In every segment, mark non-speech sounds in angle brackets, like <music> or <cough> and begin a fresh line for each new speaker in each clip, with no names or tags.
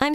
I'm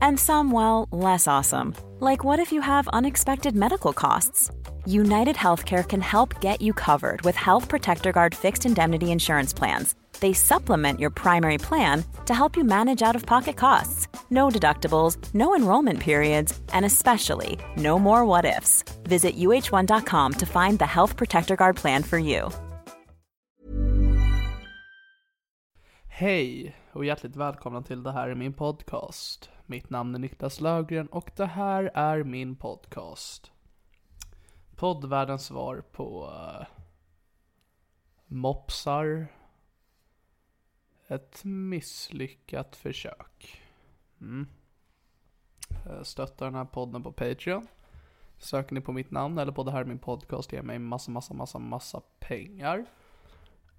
And some, well, less awesome, like what if you have unexpected medical costs? United Healthcare can help get you covered with Health Protector Guard fixed indemnity insurance plans. They supplement your primary plan to help you manage out of pocket costs. No deductibles, no enrollment periods, and especially no more what ifs. Visit uh1.com to find the Health Protector Guard plan for you.
Hej och hjärtligt välkomna till Det här är min podcast. Mitt namn är Niklas Löfgren och det här är min podcast. Poddvärldens svar på eh, mopsar. Ett misslyckat försök. Mm. Eh, Stötta den här podden på Patreon. Söker ni på mitt namn eller på det här är min podcast ge mig massa, massa, massa, massa pengar.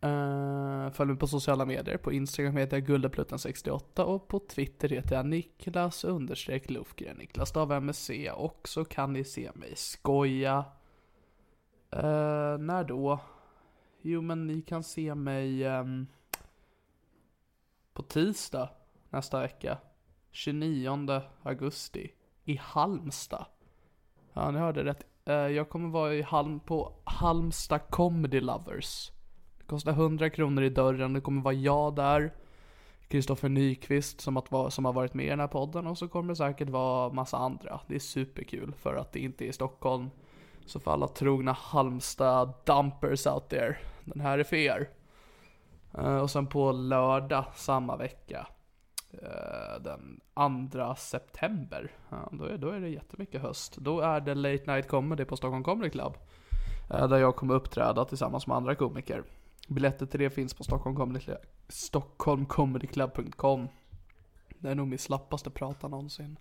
Eh, följ mig på sociala medier. På Instagram heter jag guldepluttan68 och på Twitter heter jag Niklas understreck Lufgren. Niklas stav M med C och så kan ni se mig skoja. Eh, när då? Jo men ni kan se mig ehm, på tisdag nästa vecka. 29 augusti i Halmstad. Ja, ni hörde rätt. Eh, Jag kommer vara i Halm på Halmstad Comedy Lovers. Det kostar 100 kronor i dörren, det kommer vara jag där. Kristoffer Nyqvist som, att va- som har varit med i den här podden och så kommer det säkert vara massa andra. Det är superkul för att det inte är i Stockholm. Så för alla trogna Halmstad dumpers out there, den här är för er. Eh, Och sen på lördag samma vecka eh, den 2 september. Ja, då, är, då är det jättemycket höst. Då är det Late Night Comedy på Stockholm Comedy Club. eh, Där jag kommer uppträda tillsammans med andra komiker. Biljetter till det finns på Stockholm Comedy Club, stockholmcomedyclub.com. Det är nog min slappaste prata någonsin.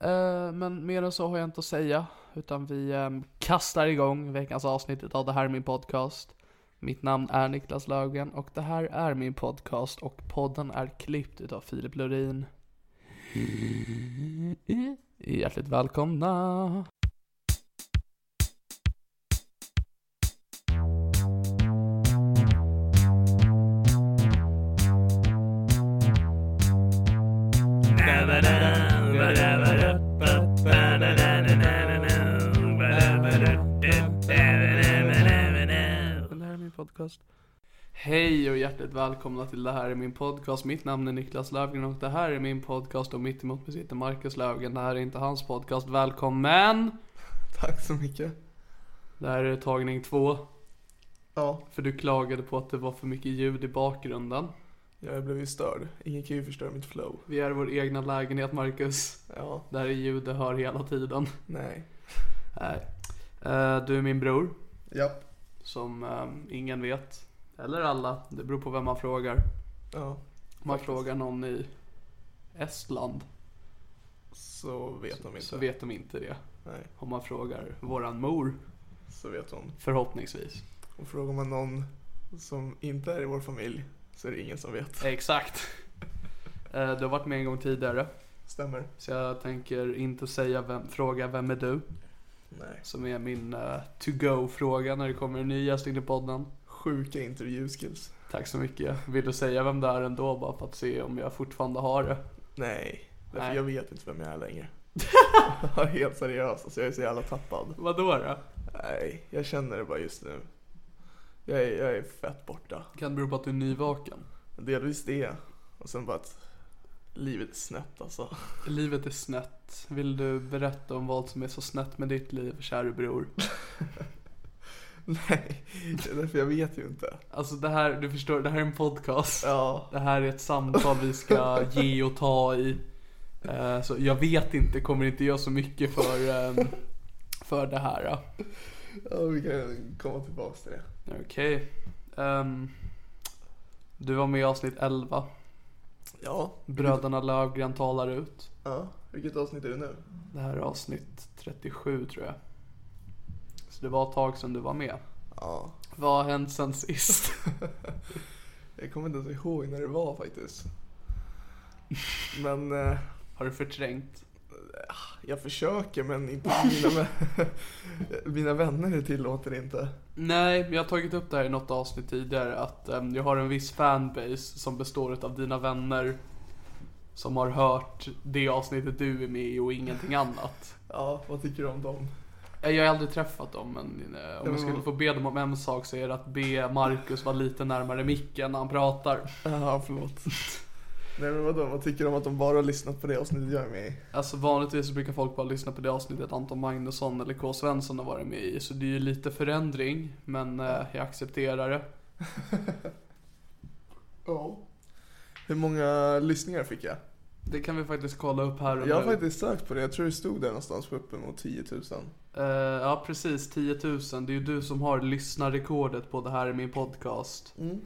Eh, Men mer än så har jag inte att säga. Utan vi eh, kastar igång veckans avsnitt av Det här är min podcast. Mitt namn är Niklas Löfgren och det här är min podcast och podden är klippt utav Filip Lurin. Hjärtligt välkomna! Det här är min podcast. Hej och hjärtligt välkomna till Det här är min podcast. Mitt namn är Niklas Löfgren och det här är min podcast och mitt emot mig sitter Marcus Löfgren. Det här är inte hans podcast. Välkommen!
Tack så mycket.
Det här är tagning två.
Ja,
För du klagade på att det var för mycket ljud i bakgrunden.
jag blev ju störd. Ingen kan ju förstöra mitt flow.
Vi är i vår egna lägenhet Marcus.
Ja,
Där är ljud det hör hela tiden.
nej.
Nej. Eh, du är min bror.
Japp.
Som eh, ingen vet. Eller alla. Det beror på vem man frågar.
Ja,
Om man frågar någon i Estland
så vet de inte.
så vet de inte det.
Nej,
Om man frågar våran mor
så vet de. <laughs>
förhoppningsvis.
Och frågar man någon som inte är i vår familj så är det ingen som vet.
Exakt. Eh, du har varit med en gång tidigare.
Stämmer?
Så jag tänker inte säga vem, fråga vem är du?
Nej.
Som är min eh, to go-fråga när det kommer en ny gäst in i podden.
Sjuka intervjuskills.
Tack så mycket. Vill du säga vem det är ändå bara för att se om jag fortfarande har det?
Nej. Därför
Nej.
jag vet inte vem jag är
<laughs>
längre. Jag är Helt seriöst, alltså jag är så jävla tappad.
Vadå då?
Nej, jag känner det bara just nu. Jag är, jag är fett borta.
Kan det bero på att du är nyvaken?
Delvis det. Och sen bara att livet är snett alltså.
Livet är snett. Vill du berätta om vad som är så snett med ditt liv, käre bror?
<laughs> Nej, det är därför jag vet ju inte.
Alltså det här, du förstår, det här är en podcast.
Ja,
Det här är ett samtal vi ska ge och ta i. Eh, Så jag vet inte, kommer inte göra så mycket för, ehm, för det här. ja.
ja vi kan komma tillbaks till det.
Okej. Ehm, du var med i avsnitt 11.
Ja,
Bröderna Lövgren talar ut.
ja. Vilket avsnitt är det nu?
Det här är avsnitt 37 tror jag. Så det var ett tag sedan du var med.
Ja.
Vad har hänt sen sist?
Jag kommer inte ens ihåg när det var faktiskt. Men eh,
Har du förträngt?
jag försöker men <laughs> inte mina, vä- mina vänner tillåter inte.
Nej, jag har tagit upp det här i något avsnitt tidigare att ehm, jag har en viss fanbase som består av dina vänner som har hört det avsnittet du är med i och ingenting annat.
Ja, vad tycker du om dem?
Eh, Jag har aldrig träffat dem men eh, om jag skulle få be dem om en sak så är det att be Marcus vara lite närmare micken när han pratar.
Ja, förlåt. Nej men vadå, vad tycker du om att de bara har lyssnat på det avsnittet jag är med i?
Alltså vanligtvis så brukar folk bara lyssna på det avsnittet Anton Magnusson eller K. Svensson har varit med i. Så det är ju lite förändring, men eh, jag accepterar det.
Ja. Hur många lyssningar fick jag?
Det kan vi faktiskt kolla upp här och
Jag har
nu.
faktiskt sökt på det, jag tror det stod där någonstans på uppemot 10 000.
Eh, ja precis, 10 000. Det är ju du som har lyssnarrekordet på det här i min podcast.
Mm.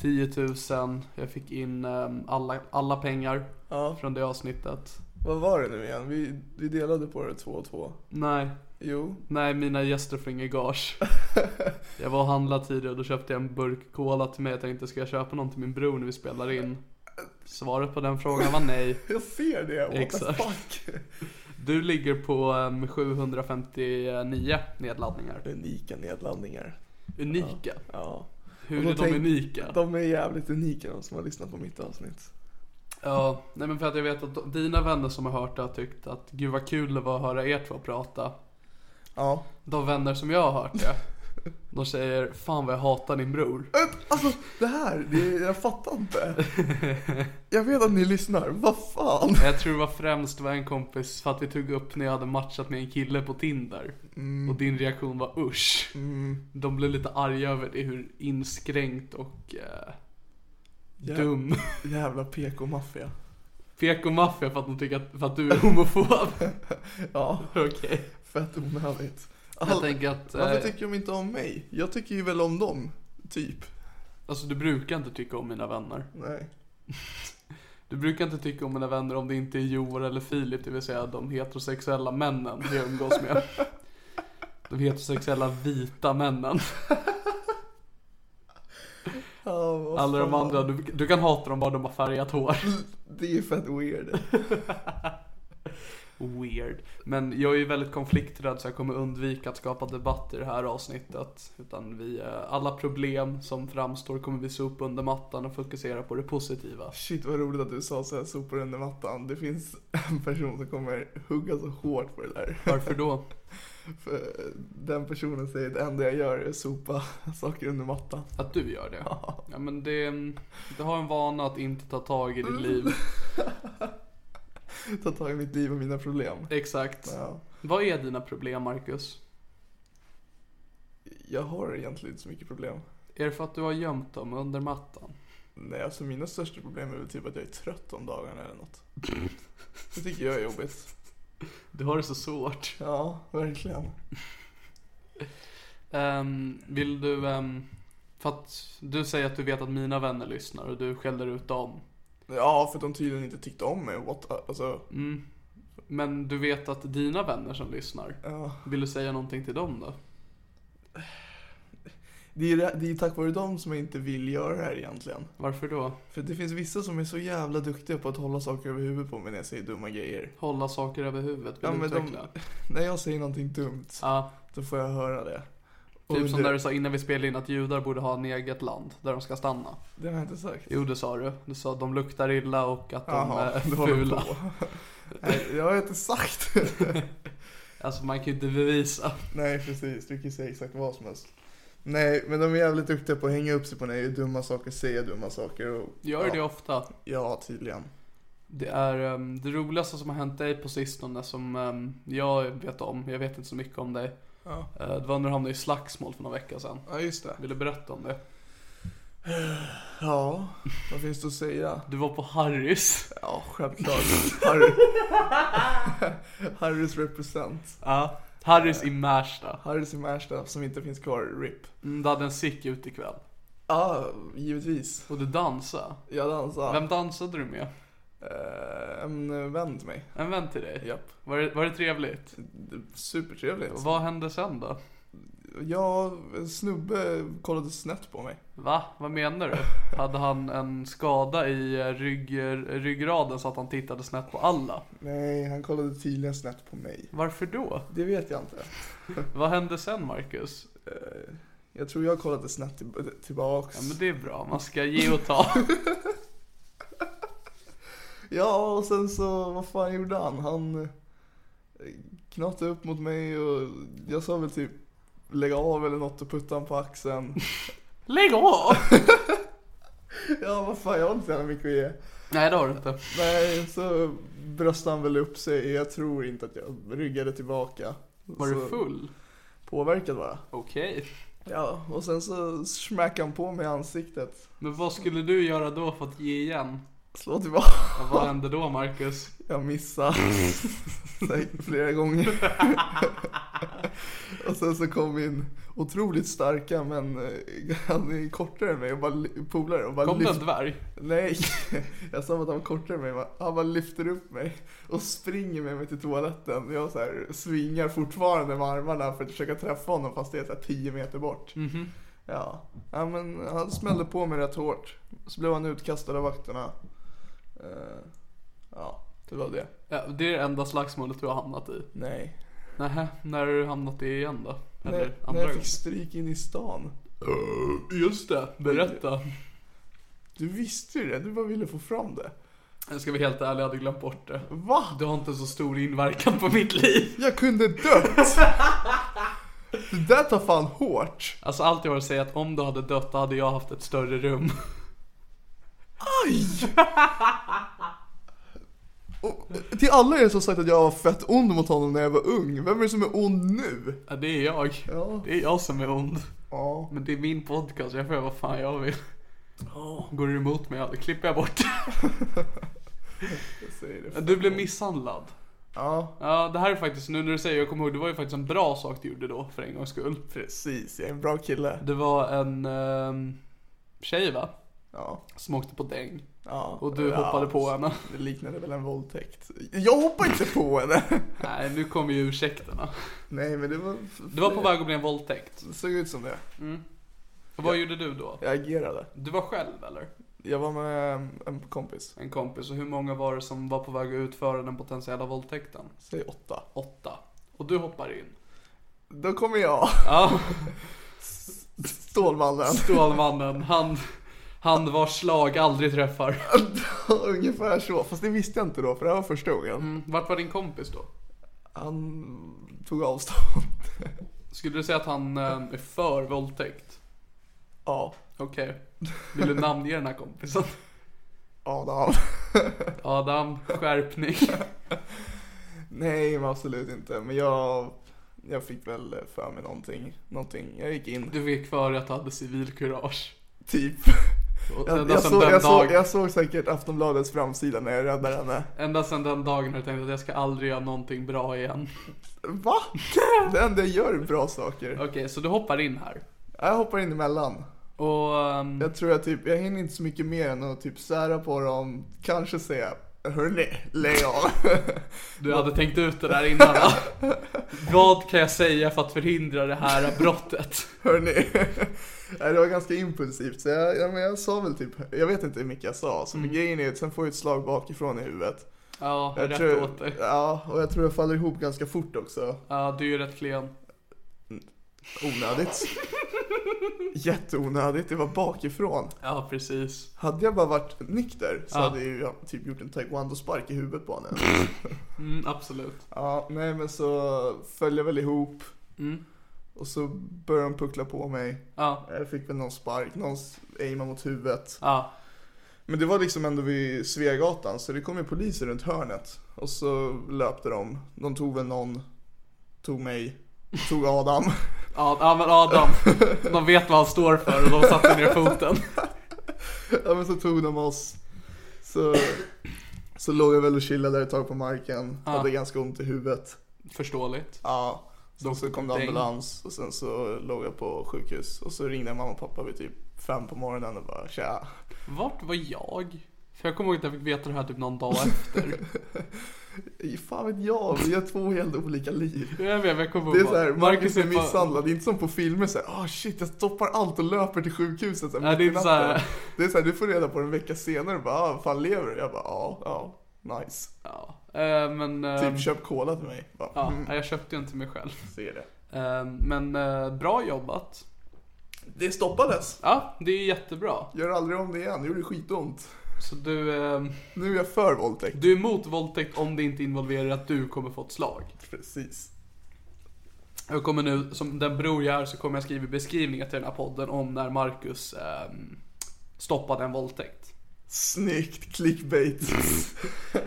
10 000, jag fick in eh, alla, alla pengar
Ja,
från det avsnittet.
vad var det nu igen? Vi, vi delade på det två och två.
Nej,
Jo,
nej mina gäster får inget
<laughs>
gage. jag var och handlade tidigare och då köpte jag en burk cola till mig. Jag tänkte, ska jag köpa någon till min bror när vi spelar in? Svaret på den frågan var nej.
jag ser det, what
Exakt.
the fuck? <laughs>
Du ligger på eh, 759 nedladdningar.
Unika nedladdningar.
Unika.
Ja. Och
Hur
då
är de
tänk-
unika?
De är jävligt unika de som har lyssnat på mitt avsnitt.
Ja, nej men för att jag vet att dina vänner som har hört det har tyckt att gud vad kul det var att höra er två prata.
Ja.
De vänner som jag har hört det, de säger fan vad jag hatar din bror.
Alltså det här, det, jag fattar inte.
<laughs>
Jag vet att ni lyssnar, vad fan?
Jag tror det var främst det var en kompis för att vi tog upp när jag hade matchat med en kille på Tinder. Och din reaktion var usch.
Mm.
De blev lite arga över det, hur inskränkt och eh, dum.
Jävla PK-maffia.
PK-maffia för att de tycker att, för att du är homofob.
Ja,
<laughs> Okej.
fett onödigt.
Jag tänker att,
Varför
eh,
tycker de inte om mig? Jag tycker ju väl om dem, typ.
alltså du brukar inte tycka om mina vänner.
Nej.
Du brukar inte tycka om mina vänner om det inte är Joel eller Filip, det vill säga de heterosexuella männen jag umgås med. De heterosexuella vita männen.
Ja, vad
Alla de
fan.
andra, du, du kan hata dem bara de har färgat hår.
Det är fett weird.
Weird. Men jag är ju väldigt konflikträdd så jag kommer undvika att skapa debatt i det här avsnittet. Utan vi, eh, alla problem som framstår kommer vi sopa under mattan och fokusera på det positiva.
Shit vad roligt att du sa såhär sopor under mattan. Det finns en person som kommer hugga så hårt på det där.
Varför då?
För den personen säger att det enda jag gör är att sopa saker under mattan.
Att du gör det? Ja men det, mm, det har en vana att inte ta tag i ditt liv.
Ta tag i mitt liv och mina problem.
Exakt.
Ja.
Vad är dina problem Marcus?
Jag har egentligen inte så mycket problem.
Är det för att du har gömt dem under mattan?
Nej, alltså mina största problem är väl typ att jag är trött om dagarna eller något. Det tycker jag är jobbigt.
Du har det så svårt.
Ja, verkligen.
Ehm, vill du... ehm, för att du säger att du vet att mina vänner lyssnar och du skäller ut dem.
Ja, för att de tydligen inte tyckte om mig. What, alltså,
Mm. Men du vet att dina vänner som lyssnar.
ja.
Vill du säga någonting till dem då?
Det är, det är tack vare dem som jag inte vill göra det här egentligen.
Varför då?
För det finns vissa som är så jävla duktiga på att hålla saker över huvudet på mig när jag säger dumma grejer.
Hålla saker över huvudet? Vill
Ja,
du
men de-
utveckla?
När jag säger någonting dumt,
Ja,
då får jag höra det. Och
typ som
det,
när du sa innan vi spelade in att judar borde ha en eget land där de ska stanna.
det har jag inte sagt.
Jo, det sa du. Du sa att de luktar illa och att <laughs> de
Jaha,
är
du håller
fula.
på. <laughs> Nej, jag har inte sagt
<laughs> Alltså man kan ju inte bevisa.
Nej, precis. Du kan ju säga exakt vad som helst. Nej, men de är jävligt duktiga på att hänga upp sig på när jag gör dumma saker, säga dumma saker och...
Gör
ja,
det ofta.
Ja, tydligen.
Det är ehm, det roligaste som har hänt dig på sistone som ehm, jag vet om. Jag vet inte så mycket om dig.
Ja,
Eh, det var när du hamnade i slagsmål för några veckor sedan.
ja just det.
Vill du berätta om det?
Ja, vad finns det att säga?
Du var på Harrys.
Ja, självklart.
<laughs>
Harry. Harrys represent.
Ja. Harrys i Märsta.
Harrys i Märsta som inte finns kvar, RIP.
Mm, Du hade en sick ut ikväll.
Ja, givetvis.
Och du dansade.
Jag dansade.
Vem dansade du med?
Eh, en vän till mig.
En vän till dig?
Japp.
Var det, var det trevligt?
Supertrevligt.
Vad hände sen då?
Ja, en snubbe kollade snett på mig.
Va? Vad menar du? Hade han en skada i eh, rygg, ryggraden så att han tittade snett på alla?
Nej, han kollade tydligen snett på mig.
Varför då?
Det vet jag inte.
Vad hände sen Marcus?
Eh, jag tror jag kollade snett till- tillbaks.
Ja men det är bra, man ska ge och
<laughs>
ta.
Ja, och sen så, vad fan gjorde han? Han eh, knatade upp mot mig och jag sa väl typ lägga av eller något och putta han på axeln. <laughs>
Lägg av!
Ja, vad fan, jag har inte så jävla mycket att ge.
Nej det har du inte.
Nej, så bröstade han väl upp sig. Jag tror inte att jag ryggade tillbaka.
Var
så
du full?
Påverkad bara.
Okej.
Ja, och sen så smackade han på mig i ansiktet.
Men vad skulle du göra då för att ge igen?
Slå tillbaka.
Ja, Vad hände då Marcus?
Jag <laughs> missade Säkert flera gånger. och sen så kom min otroligt starka, men eh, han är kortare än mig och bara li- polare och bara
Kom det en
lyfter.
dvärg?
Nej, <laughs> jag sa att han var kortare än mig. men Han bara lyfter upp mig och springer med mig till toaletten. Jag så här svingar fortfarande med armarna för att försöka träffa honom fast det är så här 10 meter bort.
Mhm.
Ja. ja, men han smällde på mig rätt hårt. Så blev han utkastad av vakterna. Eh, ja, det var det.
Ja, det är det enda slagsmålet du har hamnat i.
Nej.
Nähä, när har du hamnat i igen då? Eller
När,
andra
när jag
gången?
fick stryk in i stan. Eh,
Just det, berätta.
Du visste ju det, du bara ville få fram det.
Jag ska vara helt ärlig, jag hade glömt bort det.
Va?
Du har inte så stor inverkan på mitt liv.
Jag kunde dött! det där tar fan hårt.
Alltså allt jag har att säga är att om du hade dött då hade jag haft ett större rum.
Aj! Och, eh, till alla er som sagt att jag var fett ond mot honom när jag var ung, vem är det som är ond nu?
Ja, det är jag.
Ja.
Det är jag som är ond.
Ja.
Men det är min podcast, jag får göra vad fan jag vill. Går du emot mig, ja, då klipper jag bort
Jag säger det.
Du blev misshandlad.
Ja,
Ja, det här är faktiskt, nu när du säger jag kommer ihåg, det var ju faktiskt en bra sak du gjorde då, för en gångs skull.
precis. Jag är en bra kille.
Det var en um, tjej va?
Ja.
Som åkte på däng.
ja.
Och du
ja.
hoppade på henne.
Det liknade väl en våldtäkt. Jag hoppade inte på henne!
Nej, nu kommer ju ursäkterna.
Nej, men det var...
Du var på väg att bli en våldtäkt.
Det såg ut som det.
Vad gjorde du då?
Jag agerade.
Du var själv eller?
Jag var med em, en kompis.
En kompis. Och hur många var det som var på väg att utföra den potentiella våldtäkten?
Säg åtta.
Åtta. Och du hoppar in.
Då kommer jag, <laughs>
Ja,
Stålmannen.
Stålmannen. Han, han vars slag aldrig träffar.
<laughs> Ungefär så. Fast det visste jag inte då, för det här var första gången.
Mm, Vart var din kompis då?
Han tog avstånd. <laughs>
Skulle du säga att han eh, är för våldtäkt?
ja,
Okej. Vill du namnge den här kompisen?
Adam. <laughs>
Adam, skärpning.
Nej, men absolut inte. Men jag, jag fick väl för mig någonting. någonting. Jag gick in, <laughs>
Du fick för dig att du hade civilkurage.
typ.
Och
Jag,
ända
jag,
sedan
såg,
den
jag, såg,
dag-
jag såg säkert Aftonbladets framsida när jag räddade henne.
Ända sedan den dagen har jag tänkt att jag ska aldrig göra någonting bra
<laughs>
igen.
Va? Det enda jag gör är bra saker.
Okej, så du hoppar in här.
Jag hoppar in emellan.
Och ehm,
Jag tror jag typ, jag hinner inte så mycket mer än att typ sära på dem, kanske säga Hörni, lägg av.
du hade tänkt ut det där innan va? Vad kan jag säga för att förhindra det här brottet?
<laughs> Hörni. Nej, det var ganska impulsivt så jag, ja, men jag sa väl typ, jag vet inte hur mycket jag sa. Så grejen är att sen får jag ett slag bakifrån i huvudet.
Mm. Ja,
Jag
rätt
tror,
åt dig.
Ja, och jag tror jag faller ihop ganska fort också.
Ja, du är ju rätt klen.
Onödigt.
<laughs>
Jätteonödigt, det var bakifrån.
Ja, precis.
Hade jag bara varit nykter så
Ja.
hade jag ju typ gjort en taekwondo-spark i huvudet på
<laughs>
honom.
Mm, absolut.
Ja, nej men så föll jag väl ihop. Och så började de puckla på mig.
Mm. Ja.
Jag fick väl någon spark, någon s- aimade mot huvudet.
Ja.
Men det var liksom ändå vid Sveagatan så det kom ju poliser runt hörnet. Och så löpte de. De tog väl någon, tog mig, tog Adam. <laughs>
Ja, ja, men Adam, de vet vad han står för och de satte ner foten.
ja men så tog de oss. Så, så låg jag väl och chillade ett tag på marken. Hade ganska ont i huvudet.
Förståeligt.
Ja. Sen så kom det
däng.
ambulans och sen så låg jag på sjukhus. Och så ringde mamma och pappa vid typ fem på morgonen och bara tja.
Vart var jag? För jag kommer ihåg att jag fick veta det här typ
<laughs>
någon dag efter.
Fan vet jag, vi har två helt olika liv.
Jag vet, jag kommer
Det är
ihåg.
såhär, Marcus blir
på-
liksom misshandlad. Det är inte som på filmer såhär, ah shit jag stoppar allt och löper till sjukhuset såhär,
Nej, det är
mitt i
inte såhär-
natten." Det är såhär, du får reda på det en vecka senare bara, ah, fan lever du? Jag bara, ja, ja, nice.
Ja, eh, men... eh,
Typ köp cola till mig. Bara,
ja,
mm,
nej, jag köpte ju inte till mig själv.
ser det.
Eh, Men eh, bra jobbat.
Det stoppades.
Ja, det är ju jättebra.
Gör aldrig om det igen, det gjorde skitont.
Så du, eh,
Nu är jag för våldtäkt.
du är emot våldtäkt om det inte involverar att du kommer få ett slag.
Precis.
Jag kommer nu, som den bror jag är, så kommer jag skriva i beskrivningen till den här podden om när Marcus eh, stoppade en våldtäkt. <laughs>
Snyggt clickbait.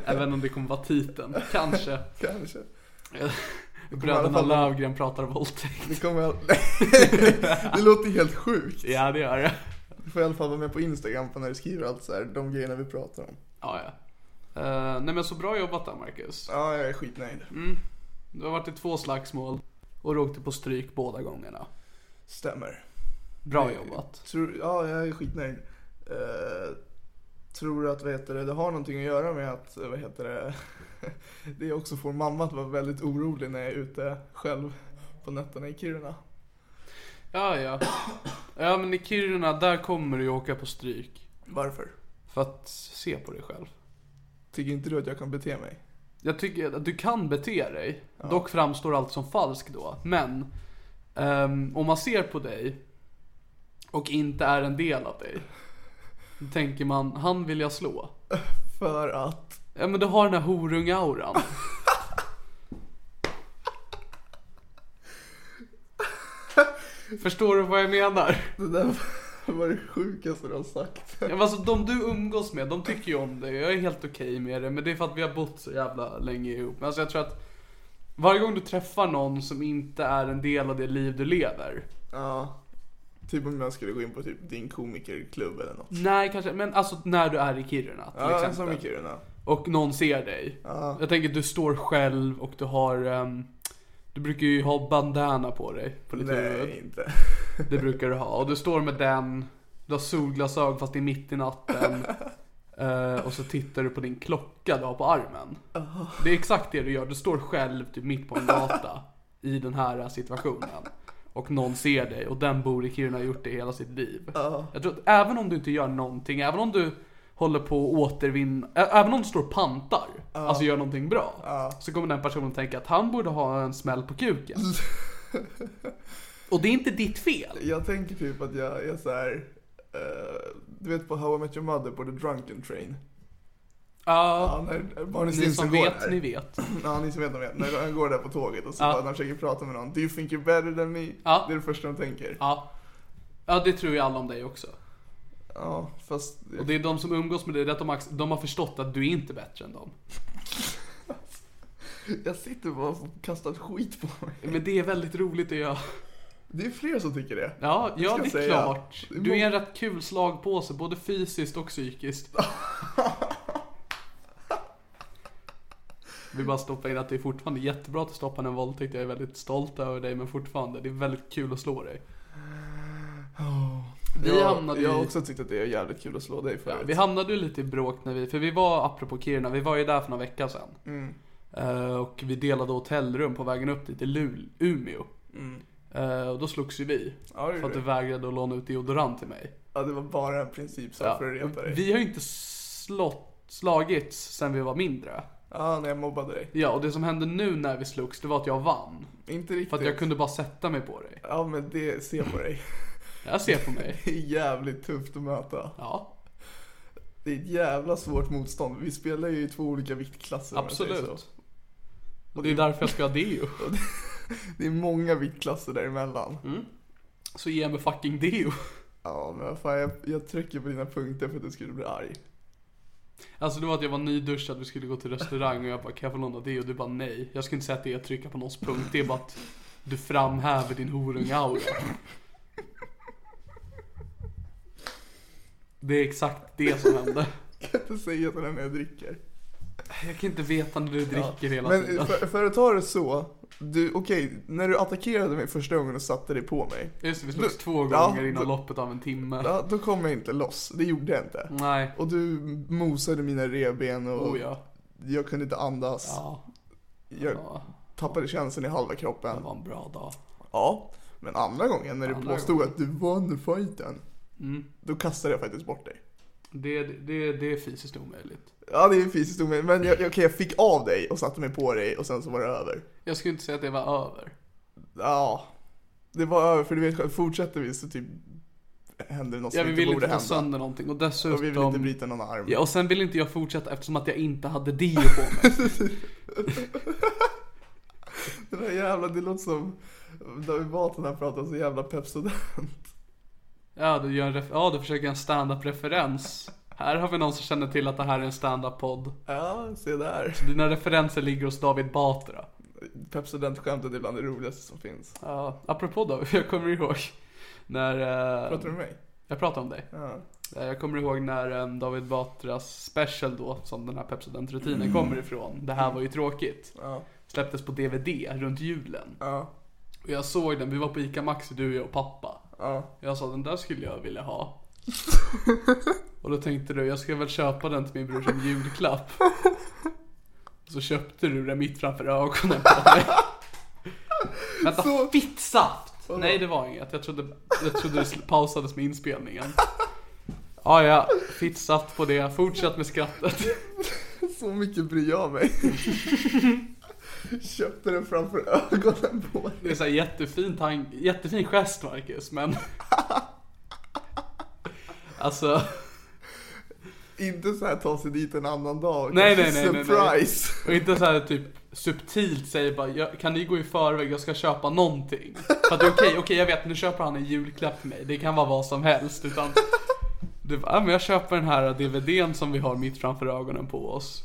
Även om det kommer vara titeln, kanske.
Kanske.
Bröderna Lövgren pratar våldtäkt.
Det kommer jag... <laughs> det låter helt sjukt.
Ja, det gör det.
Du får i alla fall vara med på Instagram på när du skriver allt så här, de grejerna vi pratar om.
Ja, ja. Eh, nej men så bra jobbat där Marcus.
Ja, jag är skitnöjd.
Mm. Du har varit i två slagsmål och du åkte på stryk båda gångerna.
Stämmer. Eh,
Bra jobbat.
Tror, ja, jag är skitnöjd. Eh, tror du att vad heter det, det har någonting att göra med att eh, vad heter det, <laughs> det också får mamma att vara väldigt orolig när jag är ute själv på nätterna i Kiruna?
Ja, ja. Ja, men i Kiruna, där kommer du ju åka på stryk.
Varför?
För att se på dig själv.
Tycker inte du att jag kan bete mig?
Jag tycker att du kan bete dig. Dock framstår allt som falskt då. Men ehm, om man ser på dig och inte är en del av dig. Då tänker man, han vill jag slå.
För att... <laughs>
Ja men du har den här horung-auran. Förstår du vad jag menar?
Det där var det sjukaste du har sagt.
Ja, men Alltså de du umgås med, de tycker ju om dig. Jag är helt okej med det. Men det är för att vi har bott så jävla länge ihop. Men alltså jag tror att varje gång du träffar någon som inte är en del av det liv du lever.
Ja. Typ om jag skulle gå in på typ din komikerklubb eller något.
Nej kanske, men alltså när du är i Kiruna till
Ja, som i
exempel.
Kiruna.
Och någon ser dig. Jag tänker att du står själv och du har, ehm, du brukar ju ha bandana på dig. På ditt huvud.
Nej, inte.
Det brukar du ha. Och du står med den, du har solglasögon fast det är mitt i natten. Eh, och så tittar du på din klocka du har på armen. Det är exakt det du gör. Du står själv typ mitt på en gata i den här situationen. Och någon ser dig och den bor i Kiruna och har gjort det hela sitt liv. Jag tror att även om du inte gör någonting, även om du håller på att återvinna, ä- även om du står och pantar, alltså gör någonting bra. Så kommer den personen tänka att han borde ha en smäll på kuken. Och det är inte ditt fel.
Jag tänker typ att jag är så här. eh, du vet på How I Met Your Mother på The Drunken Train.
Ja,
Ja, när Barney
ni som
Stinson går
vet,
där.
ni vet.
Ja, ni som vet, de vet. När han går där på tåget och så
Ja.
bara, när han försöker prata med någon. Do you think you're better than me?
Ja.
Det är det första de tänker.
Ja. ja, det tror ju alla om dig också.
Ja, fast...
Och det är de som umgås med dig, det är att de, ax- de har förstått att du är inte bättre än dem.
Jag sitter bara och kastar skit på mig.
Men det är väldigt roligt att göra.
Det är fler som tycker det.
Ja, ja
ska
det är
säga.
klart.
Det är
Du är
många-
en rätt kul slagpåse, både fysiskt och psykiskt. Vi bara stoppa in att det är fortfarande jättebra att du stoppade en våldtäkt. Jag är väldigt stolt över dig, men fortfarande, det är väldigt kul att slå dig. Vi
jag,
hamnade
jag har
i-
också tyckt att det är jävligt kul att slå dig
Ja,
förut.
vi hamnade ju lite i bråk när vi, för vi var, apropå Kiruna, vi var ju där för några veckor sedan.
Mm.
Eh, och vi delade hotellrum på vägen upp dit till Lul- Umeå. Eh, och då slogs ju vi.
Mm. Ja, det
för att
gjorde
du
vi.
vägrade att låna ut deodorant till mig.
Ja, det var bara en princip så
Ja,
för att repa dig.
Vi har ju inte slått, slagits sen vi var mindre.
Ja, när jag mobbade dig.
Ja, och det som hände nu när vi slogs, det var att jag vann.
Inte riktigt.
För att jag kunde bara sätta mig på dig.
Ja, men det ser på dig.
Jag ser på
<laughs>
mig.
Det är jävligt tufft att möta.
Ja,
Det är ett jävla svårt motstånd. Vi spelar ju i två olika viktklasser. om jag säger
absolut. Och det är därför jag ska ha deo.
så. Och det- Det är många viktklasser däremellan.
Mm. Så ge mig fucking deo.
Ja, men vad fan, jag, jag trycker på dina punkter för att du skulle bli arg. <laughs>
Alltså det var att jag var nyduschad, vi skulle gå till restaurang och jag bara kan jag få låna det? Och du bara nej. Jag skulle inte säga att det är att trycka på någons punkt, det är bara att du framhäver din horungaura. Det är exakt det som hände.
Jag kan inte säga sådär när jag dricker.
Jag kan inte veta när du dricker hela
Men
tiden.
för, för att ta det så, du, okej, när du attackerade mig första gången och satte dig på mig,
Just det, vi slogs två
Ja,
gånger innan
då-
loppet av en timme.
ja, då kom jag inte loss. Det gjorde jag inte.
Nej.
Och du mosade mina revben och
Mm. Oh ja.
jag kunde inte andas.
Ja,
Jag
ja.
tappade känslan i halva
Det
kroppen.
var en bra dag.
Ja, men andra gången när du
Andra
påstod att du vann fighten,
Mm.
då kastade jag faktiskt bort dig.
Det, det, det är fysiskt omöjligt.
Ja, det är ju fysiskt omöjligt, men jag, okej, jag fick av dig och satte mig på dig och sen så var det över.
Jag skulle inte säga att det var över.
Ja, det var över för du vet själv, fortsätter vi så typ händer det något
Jag
som inte
vill
borde
inte ta
hända.
sönder någonting och
Och vi vill inte
dessutom...
bryta någon arm.
Ja, och sen vill inte jag fortsätta eftersom att jag inte hade deo på mig.
<laughs> Det där jävla, det låter som David Batra när han pratar så jävla Pepsodent. <laughs>
Ja, du, gör en ref- ja, du försöker göra en stand-up-referens. Här har vi någon som känner till att det här är en stand-up-podd.
Ja, se där.
Dina referenser ligger hos David Batra.
Pepsodent-skämtet är bland det roligaste som finns.
Ja, apropå då, <laughs> jag kommer ihåg när... eh,
Pratar du med mig?
Jag pratar om dig.
Ja.
Eh, Jag kommer ihåg när eh, David Batras special då, som den här Pepsodent-rutinen kommer ifrån, Det här var ju tråkigt,
Mm. Ja.
släpptes på DVD runt julen.
Ja.
Och jag såg den, vi var på ICA Maxi, du, jag och pappa.
Ja.
Jag sa den där skulle jag vilja
<laughs>
ha. Och då tänkte du, jag ska väl köpa den till min bror som
<laughs>
julklapp. Och så köpte du den mitt framför ögonen på
<laughs>
mig. Vänta,
Så-
fittsaft! Nej det var inget, jag trodde, jag trodde det sl- pausades med inspelningen. Ja, ja, fittsaft på det, fortsätt med skrattet.
Så mycket bryr
<laughs>
jag mig. Köpte den framför ögonen på dig.
Det är så här jättefin, tank, jättefin gest Marcus, men... Alltså...
Inte så här ta sig dit en annan dag.
Nej,
Kanske
nej, nej, nej, nej.
Surprise!
Och inte så här typ subtilt säger bara "Jag- kan ni gå i förväg, jag ska köpa någonting. För att det är okej, okej jag vet nu köper han en julklapp till mig, det kan vara vad som helst. Utan du bara, "Ja, men jag köper den här DVDn som vi har mitt framför ögonen på oss.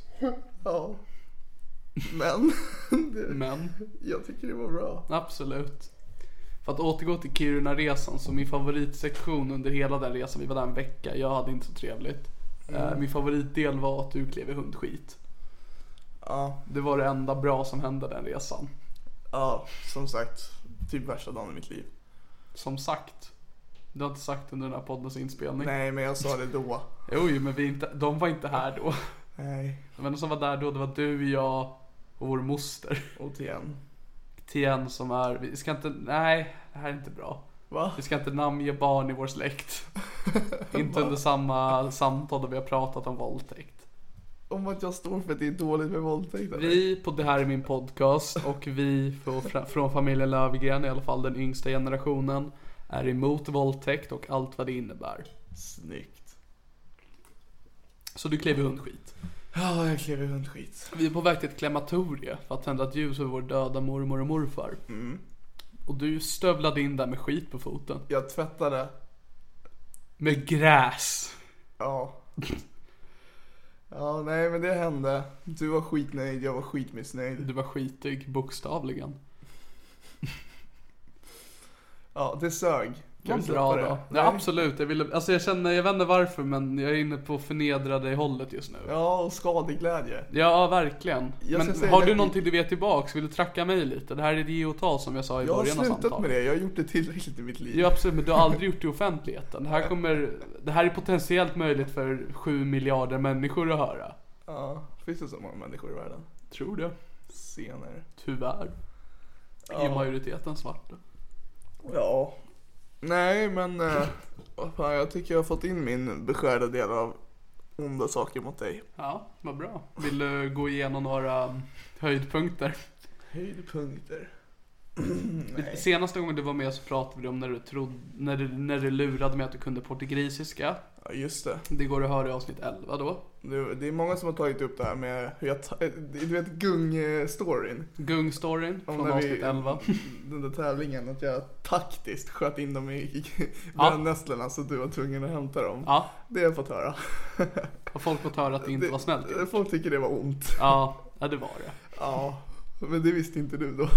Ja. Men, <laughs> det,
Men
jag tycker det var bra.
absolut. För att återgå till Kiruna-resan, så min favoritsektion under hela den resan, vi var där en vecka, jag hade inte så trevligt. Eh, Min favoritdel var att du klev i hundskit.
Ja.
Det var det enda bra som hände den resan.
Ja, som sagt. Typ värsta dagen i mitt liv.
Som sagt. Du har inte sagt under den här poddens inspelning.
Nej, men jag sa det då.
Jo, jo, men vi är inte, de var inte här då.
Nej.
De enda som var där då, det var du, jag och vår moster.
Återigen.
Tien som är, vi ska inte, nej, det här är inte bra.
Va?
Vi ska inte namnge barn i vår släkt. inte under samma samtal där vi har pratat om våldtäkt.
Om att jag står för att det är dåligt med våldtäkt eller?
Vi på Det här är min podcast och vi från, från familjen Lövgren, i alla fall den yngsta generationen, är emot våldtäkt och allt vad det innebär.
Snyggt.
Så du klev i hundskit.
Ja, jag klev i hundskit.
Vi är på väg till ett krematorie för att tända ett ljus över vår döda mormor och morfar. Och du stövlade in där med skit på foten.
Jag tvättade.
Med gräs.
Ja. Ja, nej men det hände. Du var skitnöjd, jag var skitmissnöjd.
Du var skitig, bokstavligen.
Ja, det sög.
Det var
vi
en
släppa
bra
det?
dag.
Nej.
Ja, absolut. Jag, ville, alltså jag känner, jag vet inte varför men jag är inne på förnedrade i hållet just nu. Ja,
Ja, och skadeglädje.
verkligen.
Jag ska
Men
säga
har
det-
du någonting du vet tillbaks? Vill du tracka mig lite? Det här är det och ta som jag sa i
Jag har
början av
slutat
samtalet.
med det, jag har gjort det tillräckligt i mitt liv.
Jo absolut, men du har aldrig gjort det i offentligheten. Det här, kommer, det här är potentiellt möjligt för 7 miljarder människor att höra.
Ja, finns det så många människor i världen?
Tror det.
Senare.
Tyvärr. Är majoriteten svarta.
Ja. Nej, men eh, vad fan, jag tycker jag har fått in min beskärda del av onda saker mot dig.
Ja, vad bra. Vill du gå igenom några höjdpunkter?
<clears throat> Höjdpunkter.
Det- Senaste gången du var med så pratade vi om när du, trodde, när du, när du lurade mig att du kunde portugisiska.
Ja, just det.
Det går att höra i avsnitt 11 då.
det. Det är många som har tagit upp det här med hur jag... Ta- eh, du vet gung-storyn?
Gung-storyn
Om
från
när
avsnitt
vi-
11.
<laughs> Den där tävlingen, att jag taktiskt sköt in dem i, i
Ja.
brännässlorna så du var tvungen att hämta dem.
Ja,
Det har jag fått höra.
och folk fått höra att det inte var snällt.
Det- Folk tycker det var ont.
Ja, ja, det var det.
Ja, men det visste inte
<laughs>
du då.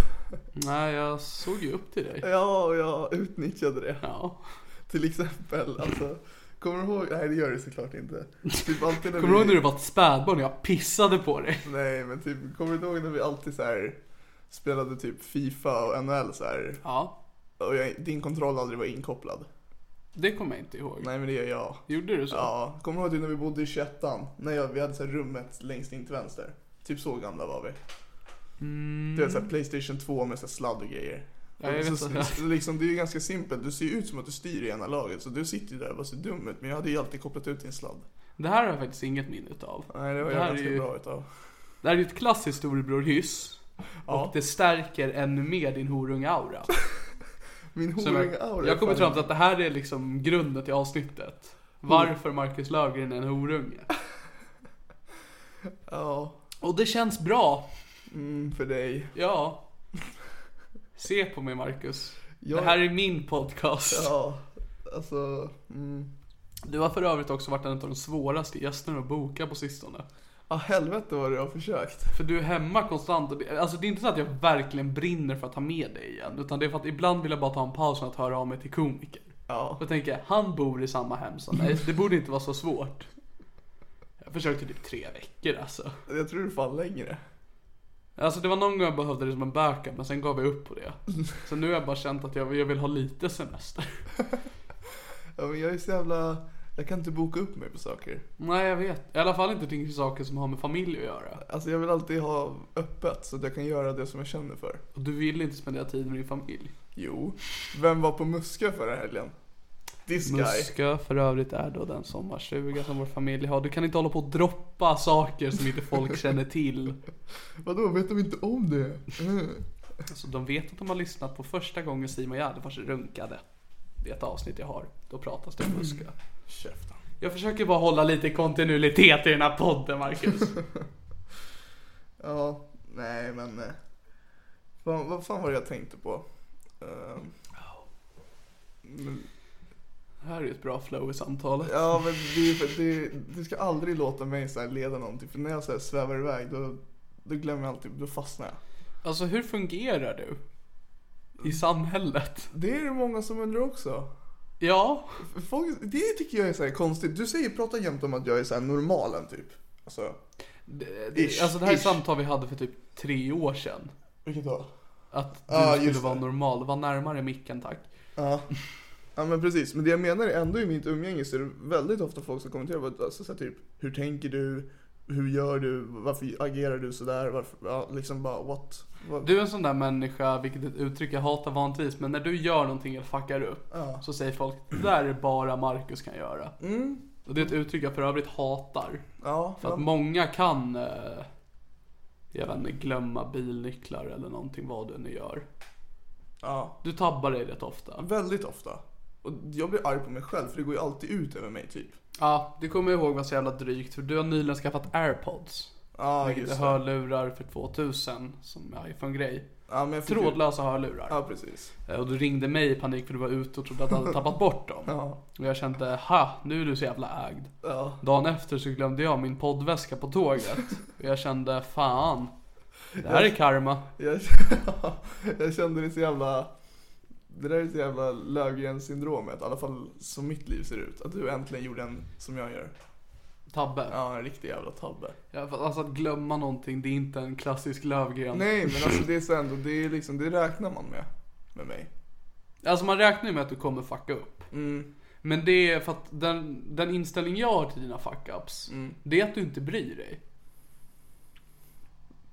Nej, jag såg ju upp till dig.
Ja, och jag utnyttjade det.
Ja.
Till exempel, alltså. Kommer du ihåg? Nej, det gör du såklart inte.
<laughs>
Typ alltid när
Kommer du ihåg
vi...
när du var ett spädbarn och jag pissade på dig?
Nej, men typ, kommer du ihåg när vi alltid så här spelade typ Fifa och NHL så här?
Ja,
Och jag, din kontroll aldrig var inkopplad.
det kommer jag inte ihåg.
Nej, men det gör jag.
Gjorde du så?
Ja, kommer du ihåg typ när vi bodde i 21 När jag, vi hade så här rummet längst in till vänster. Typ så gamla var vi.
Mm,
Det var så här Playstation 2 med så här sladd och grejer.
Ja, jag vet
så,
inte.
så liksom, det är ju ganska simpelt. Du ser ju ut som att du styr i ena laget. Så du sitter ju där och bara ser dum ut. Men jag hade ju alltid kopplat ut din sladd.
Det här har jag faktiskt inget minne utav.
Nej, det var
här
jag
är
ganska
ju-
bra utav.
Det här är ju ett klassiskt storebror-hyss.
Ja.
Och det stärker ännu mer din horunga-aura.
Min
Så jag-
horunge-aura.
Jag kommer fram till att det här är liksom grunden till avsnittet.
Mm.
Varför Marcus Löfgren är en horunge.
Ja,
Och det känns bra.
mm, för dig.
Ja. Se på mig Marcus.
Jag-
Det här är min podcast.
Ja, alltså. Mm.
Du har för övrigt också varit en av de svåraste gästerna att boka på sistone.
Ja, helvete vad du har försökt.
För du är hemma konstant. Och det, alltså det är inte så att jag verkligen brinner för att ha med dig igen. Utan det är för att ibland vill jag bara ta en paus från att höra av mig till komiker.
Ja.
Då tänker jag, han bor i samma hem som mig. Det borde inte vara så svårt. Jag försökte typ tre veckor alltså.
Jag tror du fan längre.
Alltså det var någon gång jag behövde det som en backup men sen gav jag upp på det. Så nu har jag bara känt att jag, jag vill ha lite semester.
Ja, men jag är så jävla... Jag kan inte boka upp mig på saker.
Nej jag vet. I alla fall inte kring saker som har med familj att göra.
Alltså jag vill alltid ha öppet så att jag kan göra det som jag känner för.
Och du vill inte spendera tid med din familj.
Jo. Vem var på Muska förra helgen? This guy.
Muskö för övrigt är då den sommarstuga som vår familj har. Du kan inte hålla på och droppa saker som inte
<laughs>
folk känner till.
Vadå, vet de inte om det? Mm.
Alltså de vet att de har lyssnat på första gången Simon Gärdenfors runkade. Det är ett avsnitt jag har. Då pratas det om
Mm.
Muskö.
Käften.
Jag försöker bara hålla lite kontinuitet i den här podden Marcus.
<laughs> Ja, nej men... eh, Fan, vad fan var det jag tänkte på? Ehm,
Det här är ju ett bra flow i samtalet.
ja men det, är för- det, det ska aldrig låta mig så här leda någonting för när jag så här svävar iväg då, då glömmer jag alltid, då fastnar jag.
Alltså hur fungerar du? I samhället?
Det är det många som undrar också.
Ja,
Folk, det tycker jag är så här konstigt. Du säger, pratar jämt om att jag är så här normalen typ. Alltså,
det,
Ish,
det, alltså det här är
ish.
samtal vi hade för typ tre år sedan.
vilket då?
Att du
Ja,
skulle
just
vara
det.
normal, var närmare micken tack.
Ja. ja, men precis. Men det jag menar är ändå i mitt umgänge så är det väldigt ofta folk som kommenterar på att, alltså, så här, typ, hur tänker du? Hur gör du? Varför agerar du sådär? Varför, ja, liksom bara what? Vad-
Du är en sån där människa, vilket är ett uttryck jag hatar vanligtvis, men när du gör någonting eller fuckar upp
Ja.
så säger folk det där är bara Marcus kan göra.
Mm,
Och det är ett uttryck jag för övrigt hatar.
ja,
För att
ja.
många kan, eh, jag vet inte, glömma bilnycklar eller någonting vad du nu gör.
ja.
Du tabbar dig rätt ofta.
Väldigt ofta. Och jag blir arg på mig själv för det går ju alltid ut över mig typ.
Ja, det kommer jag ihåg var så jävla drygt för du har nyligen skaffat airpods.
Ja,
vilket är
just det.
hörlurar för 2000 som är iPhone-grej.
Ja, men jag fick ju-
Trådlösa hörlurar.
Ja, precis.
Eh, Och du ringde mig i panik för du var ute och trodde att du hade tappat bort dem.
Ja.
Och jag kände, ha, nu är du så jävla ägd.
Ja.
Dagen efter så glömde jag min poddväska på tåget. Och jag kände, fan. Det här är karma.
Jag, <laughs> jag kände det så jävla... Det där är så jävla Löfgren-syndromet, i alla fall som mitt liv ser ut. Att du äntligen gjorde en som jag gör.
Tabbe.
Ja, en riktig jävla tabbe.
Ja, för- Alltså att glömma någonting, det är inte en klassisk Löfgren.
Nej, men alltså det är så ändå, det är liksom, det räknar man med. Med mig.
Alltså man räknar ju med att du kommer fucka upp.
Mm.
Men det är för att den, den inställning jag har till dina fuck-ups,
Mm.
det är att du inte bryr dig.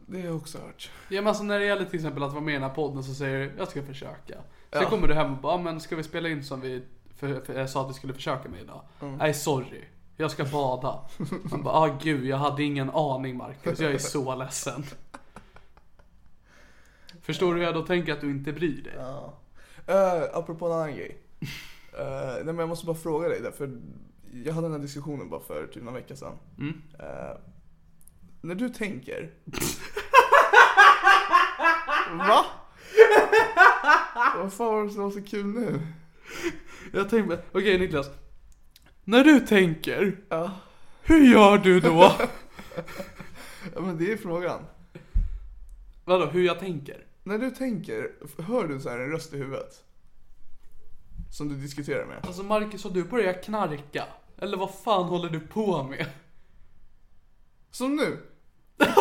Det har jag också hört.
Ja, men alltså när det gäller till exempel att vara med i den här podden så säger du jag ska försöka. Sen
Ja.
kommer du hem och bara, "Ah, men ska vi spela in som vi för, för, jag sa att vi skulle försöka med idag?
Mm.
Nej, sorry. Jag ska bada. Man bara, ah gud, jag hade ingen aning Marcus. Jag är så ledsen. Förstår du hur jag då tänker att du inte bryr dig?
Ja. Eh, apropå en annan <laughs> grej. Eh, nej, men jag måste bara fråga dig där, för jag hade den här diskussionen bara för typ några veckor sedan. Eh, när du tänker... Va? Vad fan var det som var så kul nu?
Jag tänker bara, okej Niklas. När du tänker, hur gör du då?
Ja men det är frågan.
Vadå, hur jag tänker?
När du tänker, hör du så här en röst i huvudet? Som du diskuterar med?
Alltså Marcus, har du börjat knarka? Eller vad fan håller du på med?
Som nu? <laughs>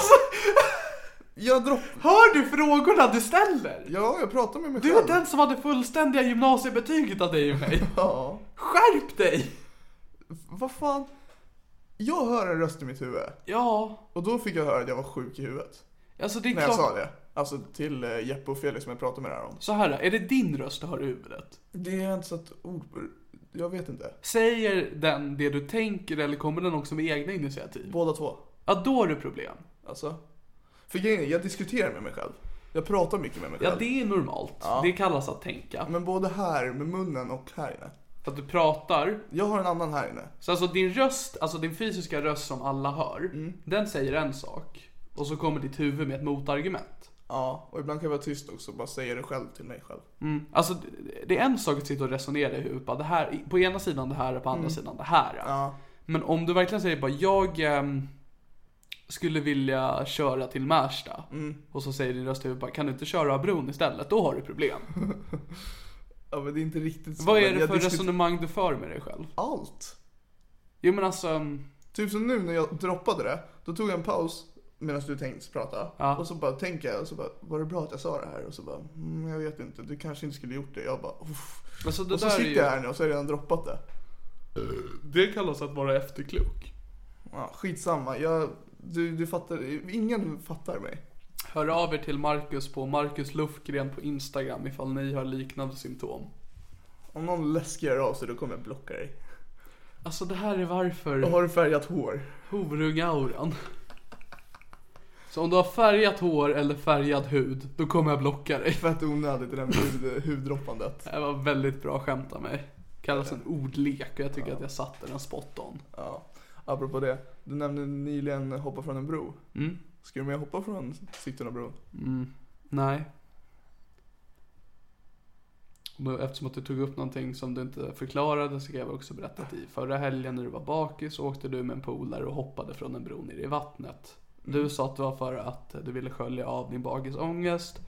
Jag dropp...
Hör du frågorna du ställer?
Ja, jag pratar med mig
Du
själv.
är den som hade fullständiga gymnasiebetyget av dig och mig.
Ja.
Skärp dig!
Vad fan? Jag hör en röst i mitt huvud.
Ja,
Och då fick jag höra att jag var sjuk i huvudet.
alltså det är
När jag
klart.
sa det. Alltså till eh, Jeppe och Felix som jag pratade med det här om.
Så här, är det din röst du hör i huvudet?
Det är inte så att ord på- Jag vet inte.
Säger den det du tänker eller kommer den också med egna initiativ?
Båda två.
Ja, då har du problem.
Alltså. För grejen är, jag diskuterar med mig själv. Jag pratar mycket med mig själv.
Ja, det är normalt. Det kallas att tänka.
Men både här med munnen och här inne.
Att du pratar.
Jag har en annan här inne.
Så alltså din röst, alltså din fysiska röst som alla hör,
Mm.
den säger en sak. Och så kommer ditt huvud med ett motargument.
Ja, och ibland kan jag vara tyst också och bara säga det själv till mig själv.
Alltså det är en sak att sitta och resonera i huvudet. bara, Det här, på ena sidan det här och på andra sidan det här.
Mm. Ja.
Men om du verkligen säger bara jag ehm, skulle vilja köra till Märsta.
Mm.
Och så säger din röst i huvudet bara kan du inte köra av bron istället? Då har du problem.
Ja men det är inte riktigt <laughs> så.
Vad är
men
det
jag
för
diskuter-
resonemang du för med dig själv?
Allt.
Jo men alltså, ehm,
Typ som nu när jag droppade det, då tog jag en paus medan du tänkte prata.
Ja.
Och så bara tänker jag och så bara, var det bra att jag sa det här? Och så bara, mm, jag vet inte, du kanske inte skulle gjort det. Jag bara, uff.
alltså det
Och så
där är
sitter
ju... Eh,
jag här nu och så har jag redan droppat det.
Det kallas att vara efterklok.
Ja, skitsamma, jag, du, du fattar, ingen fattar mig.
Hör av er till Marcus på Marcus Lufgren på Instagram ifall ni har liknande symptom.
Om någon läskig hör av sig då kommer jag blocka dig.
Alltså det här är varför...
Och har du färgat hår?
Horungauran. Så om du har färgat hår eller färgad hud, då kommer jag blocka dig.
Fett onödigt det där med hud, huddroppandet.
Det här var väldigt bra skämt av mig. Kallas en ordlek och jag tycker att jag satte den spot on.
Ja. Apropå det, du nämnde nyligen hoppa från en bro.
Mm.
Ska du med hoppa från Sigtunabron?
Nej. Och då, eftersom att du tog upp någonting som du inte förklarade så kan jag väl också berätta att i förra helgen när du var bakis så åkte du med en polare och hoppade från en bro ner i vattnet. Du sa att det var för att du ville skölja av din bakisångest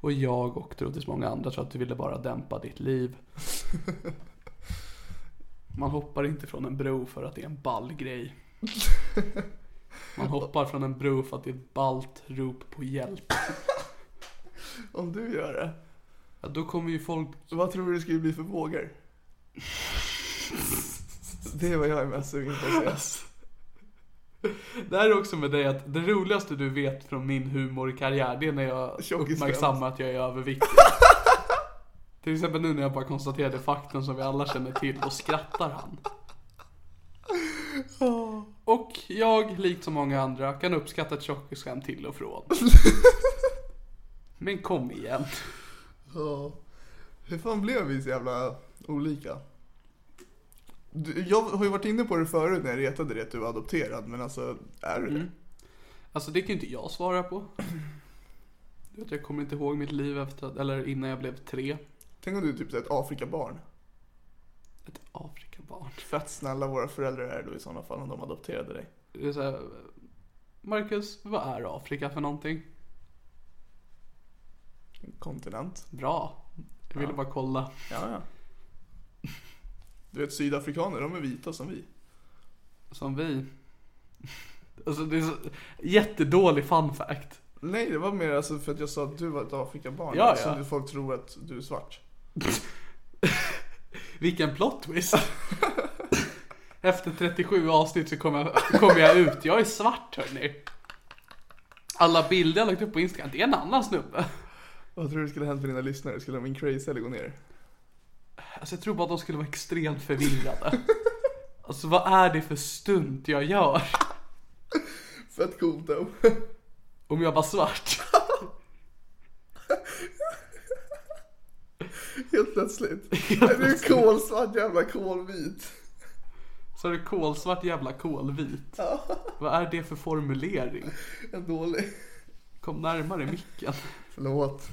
och jag och troligtvis många andra tror att du ville bara dämpa ditt liv. Man hoppar inte från en bro för att det är en ball grej. Man hoppar från en bro för att det är ett ballt rop på hjälp.
Om du gör det,
Ja, då kommer ju folk...
vad tror du det skulle bli för vågor? <laughs> Det är vad jag är mest sugen på att se.
Det här är också med dig att det roligaste du vet från min humorkarriär, det är när jag
Tjockis
uppmärksammar att jag är överviktig. Till exempel nu när jag bara konstaterade faktum som vi alla känner till, och skrattar han. Och jag, likt så många andra, kan uppskatta ett tjockisskämt till och från. Men kom igen.
Ja. Hur fan blev vi så jävla olika? Du, jag har ju varit inne på det förut när jag retade dig att du var adopterad, men alltså, är du det?
Mm. Alltså det kan ju inte jag svara på. Du vet, jag kommer inte ihåg mitt liv efter att, eller innan jag blev tre.
Tänk om du är typ så här ett Afrikabarn.
Ett Afrikabarn.
Fett snälla våra föräldrar är då i sådana fall om de adopterade dig.
Det är så här, Marcus, vad är Afrika för någonting?
Kontinent.
Bra. Jag ville bara kolla.
Ja, ja. Du vet, sydafrikaner, de är vita som vi.
Som vi. Alltså det är så, jättedålig fun fact.
Nej, det var mer alltså för att jag sa att du var ett Afrikabarn.
Ja,
Så
ja.
att folk tror att du är svart.
Vilken plot twist. Efter 37 avsnitt så kommer jag, kommer jag ut. Jag är svart hörni. Alla bilder jag lagt upp på Instagram, det är en annan snubbe.
Vad tror du skulle ha hänt med dina lyssnare? Skulle de increase eller gå ner?
Alltså jag tror bara att de skulle vara extremt förvirrade. Alltså vad är det för stunt jag gör?
Fett coolt då.
Om jag var svart.
<laughs> Helt
<laughs>
plötsligt. Det är en kolsvart jävla kolvit.
Så är det kolsvart jävla kolvit. Vad är det för formulering?
En dålig.
Kom närmare micken.
Förlåt.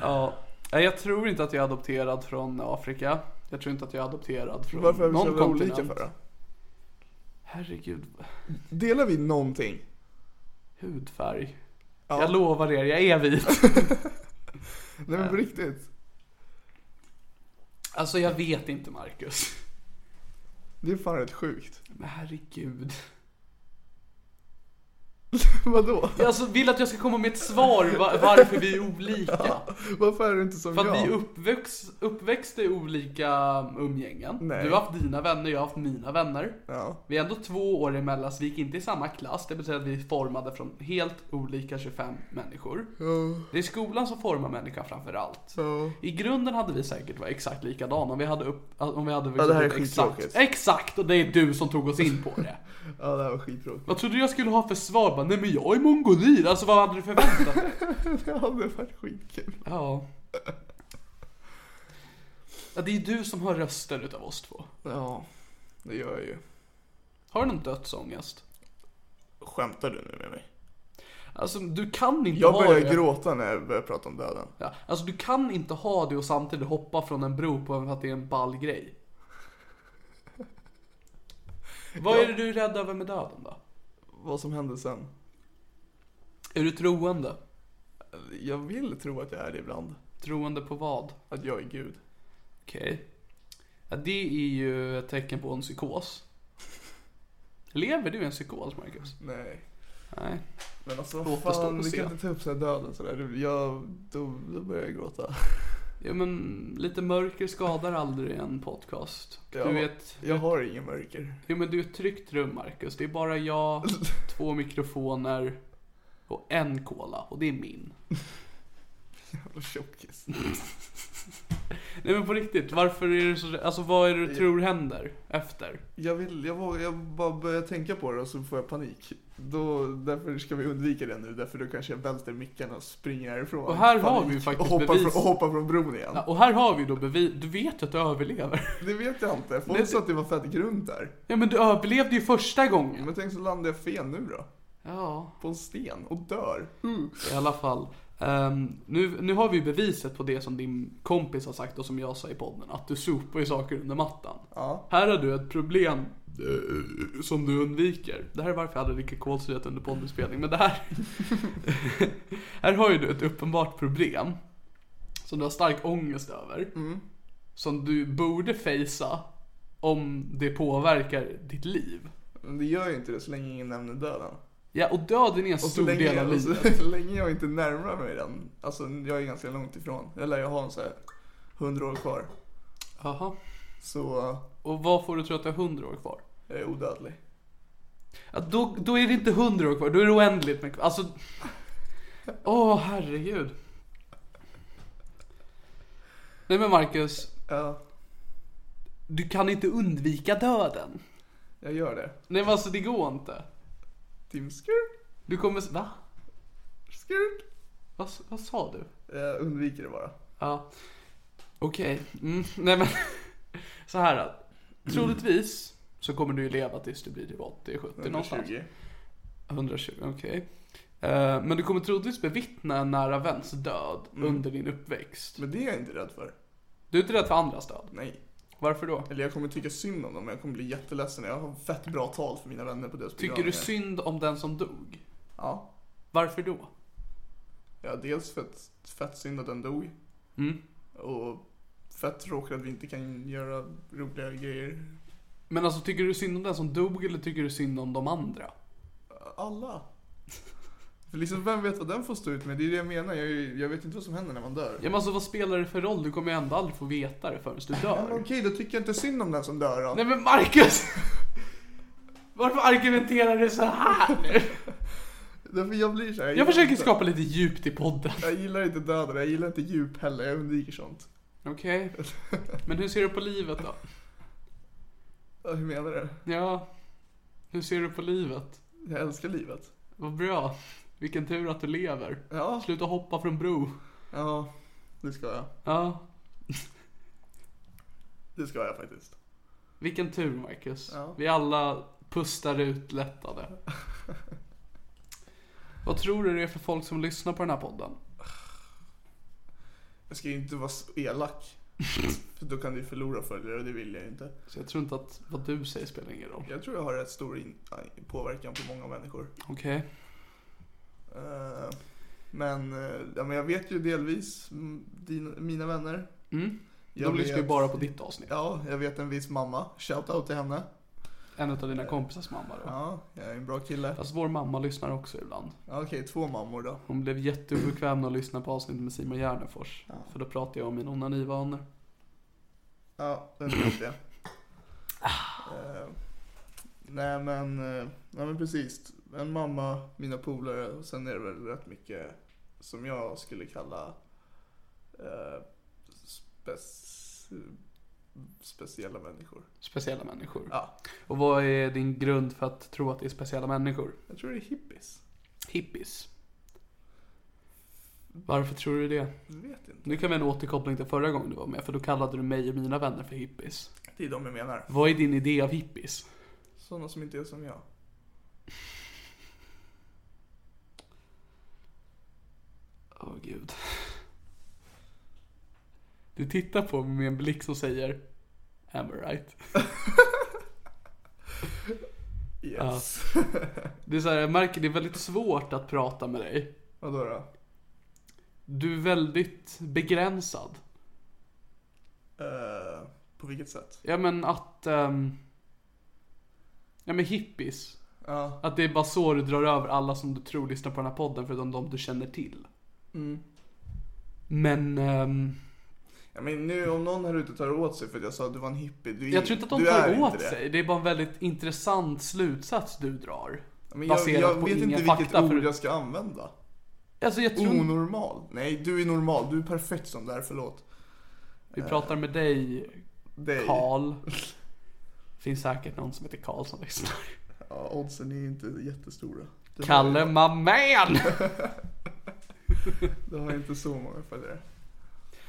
Ja. Nej, jag tror inte att jag är adopterad från Afrika. Jag tror inte att jag är adopterad från
Varför är vi så
någon
jävla
kontinent.
olika för då?
Herregud.
Delar vi någonting?
Hudfärg.
Ja.
Jag lovar er, jag är vit.
Nej men på riktigt.
Alltså jag vet inte Marcus.
Det är fan rätt sjukt.
Men herregud.
<laughs> Vadå?
Jag alltså vill att jag ska komma med ett svar va- varför vi är olika.
Varför är du inte som
För att
jag?
vi uppväxt, uppväxte i olika umgängen.
Nej.
Du har haft dina vänner, jag har haft mina vänner.
Ja.
Vi är ändå två år emellan, så vi gick inte i samma klass. Det betyder att vi är formade från helt olika 25 människor. Det är skolan som formar människan framför allt.
Ja.
I grunden hade vi säkert varit exakt likadana om vi hade upp, om vi hade
Ja, det här är
upp exakt,
skittråkigt.
exakt, och det är du som tog oss in på det.
<laughs> ja, det här var <laughs> skittråkigt.
Vad trodde du jag skulle ha för svar? Bara, Nej men jag är mongolid, alltså vad hade du förväntat
<laughs>
dig?
Det hade varit skitkul.
Ja. ja. Det är ju du som har rösten utav oss två.
Ja, det gör jag ju.
Har du någon dödsångest?
Skämtar du nu med mig?
Alltså du kan inte
Jag
ha
börjar
det.
gråta när jag börjar prata om döden.
Ja, alltså du kan inte ha det och samtidigt hoppa från en bro på att det är en ball grej. Vad är det du är rädd över med döden då?
Vad som hände sen?
Är du troende?
Jag vill tro att jag är det ibland.
Troende på vad?
Att jag är Gud.
Okej. Ja, det är ju ett tecken på en psykos. Lever du i en psykos, Marcus?
Nej.
Nej.
Men alltså
Låt
vad
oss då
fan,
och
vi
se.
kan inte ta upp såhär döden sådär. Det- Jag, då, då börjar jag gråta.
Jo men lite mörker skadar aldrig en podcast.
Ja.
Du vet,
Jag har ingen mörker. <laughs>
jo men du är ett tryggt rum Marcus. Det är bara <laughs> jag, två mikrofoner och en cola och det är min.
Jävla tjockis.
Nej men på riktigt, varför är du så Alltså vad är det du tror händer efter?
Jag vill, jag, vågar, jag bara börjar tänka på det och så får jag panik. Då, därför ska vi undvika det nu, därför då kanske jag välter mickarna och springer härifrån.
Och här
Panik.
har vi ju faktiskt
och hoppar,
bevis.
från, och hoppar från bron igen.
Ja, Och här har vi då bevis, du vet ju att du överlever. <laughs>
Det vet jag inte.
Nej,
Folk sa att det var fett grunt där.
Ja men du överlevde ju första gången.
Men tänk så landar jag fel nu då.
Ja.
På en sten och dör. Uh.
I alla fall. ehm, nu, nu har vi ju beviset på det som din kompis har sagt och som jag sa i podden. Att du sopar ju saker under mattan.
Ja.
Här har du ett problem eh, som du undviker. Det här är varför jag hade lika kolsyrat under poddinspelning. Men det här... <laughs> här har ju du ett uppenbart problem. Som du har stark ångest över.
Mm.
Som du borde fejsa om det påverkar ditt liv.
Men det gör ju inte det så länge ingen nämner döden.
Ja, och döden är en
Och så
stor
länge,
del av
jag,
livet.
<laughs> så länge jag inte närmar mig den. Alltså jag är ganska långt ifrån. Eller jag har en så här 100 år kvar.
Jaha.
Så eh,
Och vad får du tro att du har hundra år kvar?
jag är odödlig.
Ja, då, då är det inte hundra år kvar, då är det oändligt med Alltså... Åh, herregud. Nej men Marcus,
Ja,
du kan inte undvika döden.
jag gör det.
Nej men alltså det går inte.
Tim skurt,
Du kommer... s- Va?
skurt.
Vad, s- vad sa du?
Jag undviker det bara.
Ja. Okej. Mm, nej men. <laughs> Så här att. Troligtvis så kommer du ju leva tills du blir typ 80, 70 någonstans. 120,
120.
okej. Eh, men du kommer troligtvis bevittna en nära väns död under din uppväxt.
Men det är jag inte rädd för.
Du är inte rädd för andras död?
Nej.
Varför då?
Eller jag kommer tycka synd om dem. Jag kommer bli jätteledsen. Jag har fett bra tal för mina vänner på deras
Tycker du
begravningar.
synd om den som dog?
Ja.
Varför då?
Ja, dels fett, fett synd att den dog.
Mm.
Och fett tråkigt att vi inte kan göra roliga grejer.
Men alltså tycker du synd om den som dog eller tycker du synd om de andra?
Alla. För liksom, vem vet vad den får stå ut med? Det är det jag menar. Jag, jag vet inte vad som händer när man dör.
Ja men alltså vad spelar det för roll? Du kommer ju ändå aldrig få veta det förrän du
Ja, men
dör.
Okej, då tycker jag inte synd om den som dör då.
Nej men Marcus! <laughs> Varför argumenterar du så här nu?
Därför jag blir så här.
Jag försöker
inte-
skapa lite djupt i podden.
Jag gillar inte döden, jag gillar inte djup heller, jag undviker sånt. <laughs>
Okej. Men hur ser du på livet då?
Ja, Hur menar du?
Ja. Hur ser du på livet?
Jag älskar livet.
Vad bra. Vilken tur att du lever.
Ja,
Sluta hoppa från bro.
ja. Det ska jag.
Ja.
Det ska jag faktiskt.
Vilken tur Marcus.
Ja.
Vi alla pustar ut lättade.
<laughs>
Vad tror du det är för folk som lyssnar på den här podden?
Jag ska ju inte vara så
<laughs>
elak. För då kan du ju förlora följare och det vill jag ju inte.
Så jag tror inte att vad du säger spelar ingen roll.
Jag tror jag har rätt stor in- aj, påverkan på många människor.
Okej.
Eh, men, eh, ja, men jag vet ju delvis mm, din, mina vänner.
Mm.
Jag
De lyssnar ju
vet-
bara på ditt avsnitt.
Ja, jag vet en viss mamma. Shoutout till henne.
En av dina kompisars mamma då.
Ja, jag är en bra kille.
Fast vår mamma lyssnar också ibland.
Ja, Okej, två mammor då.
Hon blev jätteobekväm när hon lyssnade på avsnittet med Simon Gärdenfors. För då pratade jag om mina onanivanor.
Ja, den vet jag. Eh, nej, men, eh, nej men precis. En mamma, mina polare och sen är det väl rätt mycket som jag skulle kalla eh, spec- speciella människor.
Speciella människor.
Ja,
Och vad är din grund för att tro att det är speciella människor?
jag tror det är hippies.
Hippies. Varför tror du det?
Jag vet inte.
Nu kan vi ha en återkoppling till förra gången du var med, för då kallade du mig och mina vänner för hippies.
Det är de jag menar.
Vad är din idé av hippies?
Sådana som inte är som jag.
Åh gud. Du tittar på mig med en blick som säger Am I right?
Yes.
Det är så här, jag märker det är väldigt svårt att prata med dig.
Vadå då?
Du är väldigt begränsad.
Eh, på vilket sätt?
Ja men att... ehm, ja men hippies.
Ja,
Att det är bara så du drar över alla som du tror lyssnar på den här podden förutom de du känner till. Men... ehm,
jag men nu om någon här ute tar åt sig för att jag sa att du var en hippie. Du är,
jag tror inte att de
du är
tar
inte
åt
det.
sig. Det är bara en väldigt intressant slutsats du drar.
Men jag,
baserat
jag
på
vet
inga
inte vilket
fakta.
ord
för-
jag ska använda.
Alltså jag
Oh,
tror...
Onormal? Nej, du är normal. Du är perfekt som där, förlåt.
Vi pratar med dig,
Dig.
Karl. Finns säkert någon som heter Karl som lyssnar.
Ja, oddsen är inte jättestora. Det
Kalle
Har,
Mamén!
det har inte så många följare.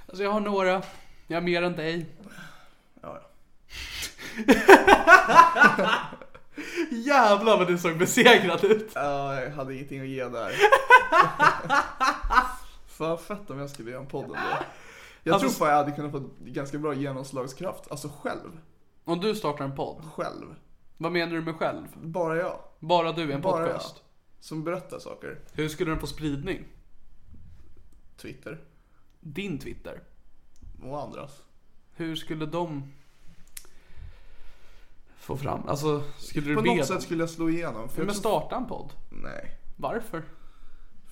Alltså jag har några. Jag har mer än dig.
Ja, ja.
Jävlar vad du såg besegrad ut.
Ja, jag hade ingenting att ge
<laughs>
där. Fan vad fett om jag skulle göra en podd ändå. Jag
Alltså-
tror fan jag hade kunnat få ganska bra genomslagskraft. Alltså själv.
Om du startar en podd,
Själv.
vad menar du med själv?
Bara jag.
Bara du i en
Bara
podcast?
Som berättar saker.
Hur skulle den få spridning?
Twitter.
Din Twitter.
Och andras.
Hur skulle de få fram, alltså skulle du
På
be
något
dem?
sätt skulle jag slå igenom. För jag
Men
tror-
starta en podd.
Nej.
Varför?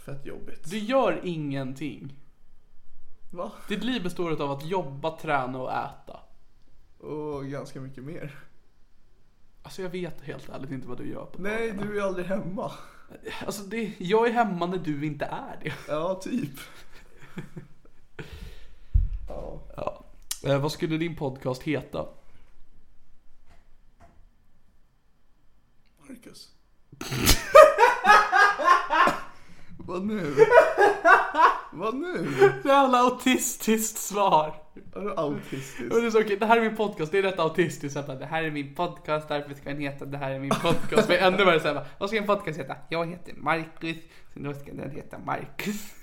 Fett jobbigt.
Du gör ingenting.
Va?
Ditt liv består av att jobba, träna och äta.
Och ganska mycket mer.
Alltså jag vet helt ärligt inte vad du gör på
Nej,
dagarna.
du är aldrig hemma.
Alltså det, jag är hemma när du inte är det.
Ja, typ. Ja.
Ja. Eh, vad skulle din podcast heta?
<laughs> Marcus. Vad nu? Vad nu?
Jävla autistiskt svar.
Är du autistisk?
Och det, är så, okej, det här är min podcast, det är rätt autistiskt. Så här bara, det här är min podcast, därför ska den heta det här är min podcast. Men ännu värre såhär, vad ska en podcast heta? Jag heter Marcus, så då ska den heta Marcus.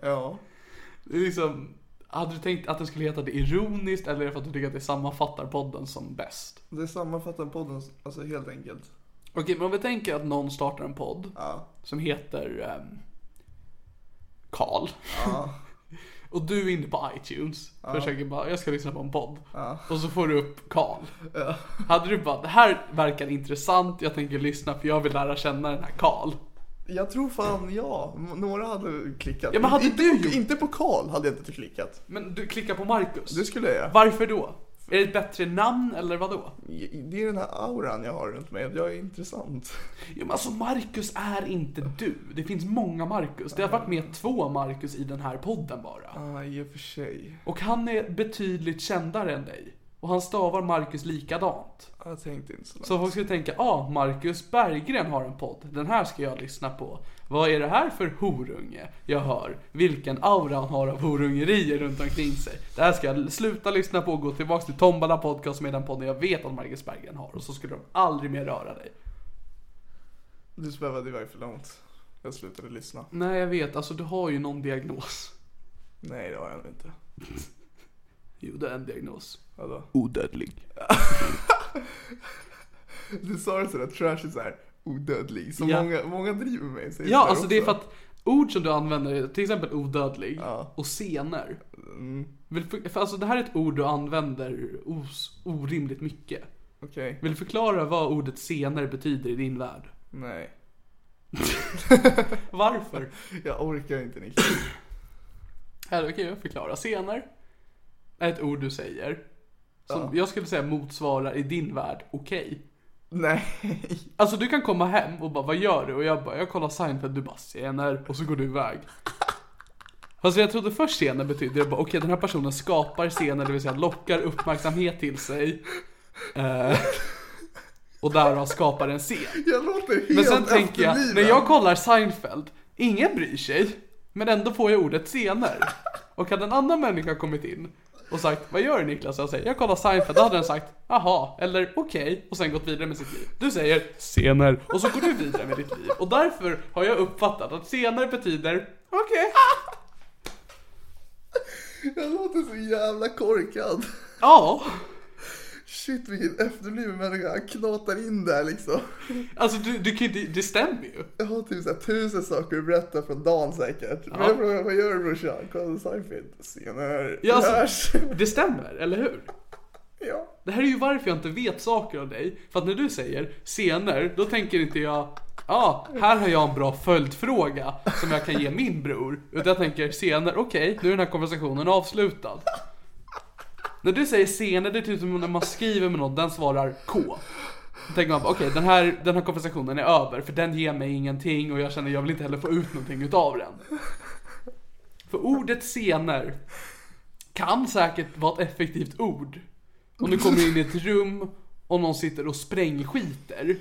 Ja.
Det är liksom, hade du tänkt att den skulle heta det ironiskt eller är det för att du tycker att det sammanfattar podden som bäst?
Det sammanfattar podden, alltså helt enkelt.
Okej, men om vi tänker att någon startar en podd
Ja.
som heter ehm, Karl. <laughs> Och du är inne på iTunes. Försöker bara, jag ska lyssna på en podd. Och så får du upp Karl. Hade du bara, det här verkar intressant, jag tänker lyssna för jag vill lära känna den här Karl.
Jag tror fan ja, m- några hade klickat.
Ja, men hade
inte,
du
på,
gjort-
inte på Karl hade jag inte klickat.
Men du klickar på Marcus.
Det skulle jag göra.
Varför då? Är det ett bättre namn eller vad då?
Det är den här auran jag har runt mig, att jag är intressant.
Jo men alltså Marcus är inte du. Det finns många Marcus. Det har varit med två Marcus i den här podden bara.
Ja, i och för sig.
Och han är betydligt kändare än dig. Och han stavar Marcus likadant.
Jag tänkte inte så långt.
Så folk skulle tänka, ah, Marcus Berggren har en podd. Den här ska jag lyssna på. Vad är det här för horunge jag hör? Vilken aura han har av horungerier runt omkring sig. Det här ska jag sluta lyssna på och gå tillbaks till Tombala podcast som är den podden jag vet att Marcus Berggren har. Och så skulle de aldrig mer röra dig.
Du svävade iväg för långt. Jag slutade lyssna.
Nej jag vet, alltså du har ju någon diagnos.
Nej, det har jag nog inte.
Jo det är en diagnos.
Vadå?
Odödlig.
<laughs> Du sa det sådär trashy såhär, odödlig. Så
Ja.
många, många driver med mig. säger
Ja,
sådär
alltså det är för
också.
att ord som du använder, till exempel odödlig
Ja. Mm.
och scener. Vill för, för alltså det här är ett ord du använder os, orimligt mycket.
Okej,
Vill du förklara vad ordet scener betyder i din
<laughs>
värld?
nej.
Varför?
Jag orkar inte Nick.
Här då kan jag förklara. Scener är ett ord du säger. Som
Ja.
jag skulle säga motsvarar i din värld okej.
<laughs> nej.
Alltså du kan komma hem och bara vad gör du? Och jag bara jag kollar Seinfeld, du bara scener och så går du iväg. Fast jag trodde först scener betydde det bara okej den här personen skapar scener, det vill säga lockar uppmärksamhet till sig. Eh, och därav skapar en scen.
Jag låter helt
Men sen tänker jag,
efterbliven.
när jag kollar Seinfeld, ingen bryr sig. Men ändå får jag ordet scener. Och hade en annan människa kommit in och sagt vad gör du Niklas? Jag säger jag kollar Seinfeld, då hade den sagt jaha, eller okej, och sen gått vidare med sitt liv. Du säger scener och så går du vidare med ditt liv. Och därför har jag uppfattat att scener betyder okej.
Jag låter så jävla korkad.
Ja.
Shit vilken efterbliven människa. Han knatar in där liksom.
Alltså du, du kan ju inte, det stämmer ju.
Jag har typ såhär tusen saker att berätta från dagen säkert. Men
Ja.
jag frågar vad gör du brorsan? Kollar du Seinfeld? Senare.
Ja, alltså-
Vi <laughs> hörs.
Det stämmer, eller hur?
ja.
Det här är ju varför jag inte vet saker om dig. För att när du säger scener, då tänker inte jag Ja, här har jag en bra följdfråga som jag kan ge min bror. Utan jag tänker scener, okej, nu är den här konversationen avslutad. När du säger scener, det är typ som när man skriver med någon, den svarar K. Då tänker man bara, okej, den, här, den här konversationen är över, för den ger mig ingenting och jag känner jag vill inte heller få ut någonting utav den. För ordet scener kan säkert vara ett effektivt ord. Om du kommer in i ett rum och någon sitter och sprängskiter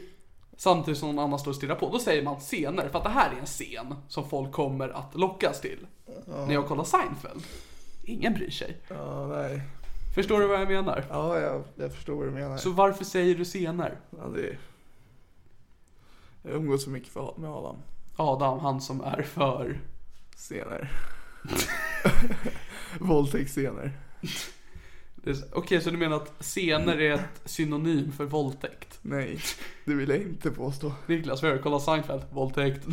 samtidigt som någon annan står och stirrar på, då säger man scener. För att det här är en scen som folk kommer att lockas till. När jag kollar Seinfeld. Ingen bryr sig.
Ja, nej.
Förstår du vad jag menar?
Ja, jag, jag förstår vad du menar.
Så varför säger du scener?
Ja, det... Jag umgås så mycket för, med Adam.
Adam, han som är för...
Scener. <laughs> Våldtäktsscener.
Okej, så du menar att scener är ett synonym för våldtäkt?
Nej, det vill jag inte påstå.
Niklas, vad gör du? Kolla Seinfeld. Våldtäkt.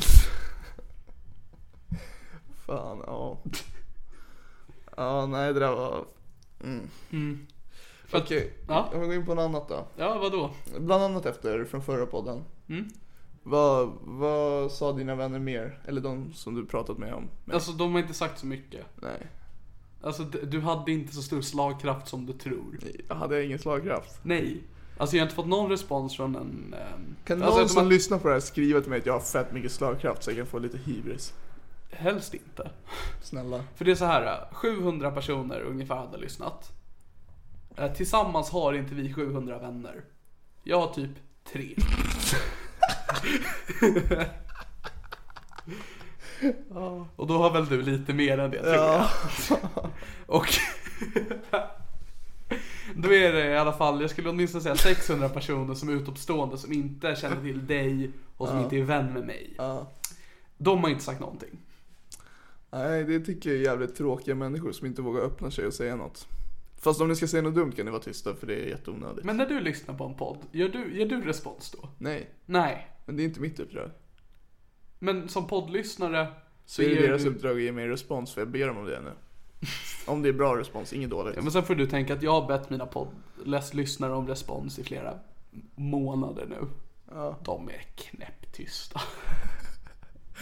Fan, ja. Ja, nej det där var... mm.
För att-
Okej,
Ja,
jag vill gå in på något annat då.
Mm. ja, vadå?
Bland annat efter från förra podden.
Mm.
Vad, vad sa dina vänner mer? Eller de som du pratat med om? Nej.
Alltså, de har inte sagt så mycket.
nej.
Alltså d- du hade inte så stor slagkraft som du tror.
Jag hade ingen slagkraft.
Nej. Alltså jag har inte fått någon respons från en... ehm,
Kan
alltså,
någon
de
som
har-
lyssnar på det här skriva till mig att jag har fett mycket slagkraft så jag kan få lite hybris?
Helst inte.
Snälla.
För det är så här, eh, 700 personer ungefär hade lyssnat. Eh, Tillsammans har inte vi 700 vänner. Jag har typ tre. Ja, Och då har väl du lite mer än det tror jag.
Ja.
Och <laughs> då är det i alla fall, jag skulle åtminstone säga 600 personer som är utomstående som inte känner till dig och som inte är vän med mig.
ja.
De har inte sagt någonting.
Nej, det tycker jag är jävligt tråkiga människor som inte vågar öppna sig och säga något. Fast om ni ska säga något dumt kan ni vara tysta för det är jätteonödigt.
Men när du lyssnar på en podd, gör du, ger du respons då?
Nej,
Nej.
men det är inte mitt uppdrag.
Men som poddlyssnare så
Så är det
ger
deras
du...
uppdrag att ge mig en respons för jag ber dem om det nu. Om det är bra respons, inget dåligt.
Ja, men sen får du tänka att jag har bett mina poddlyssnare om respons i flera månader nu.
Ja.
De är knäpptysta.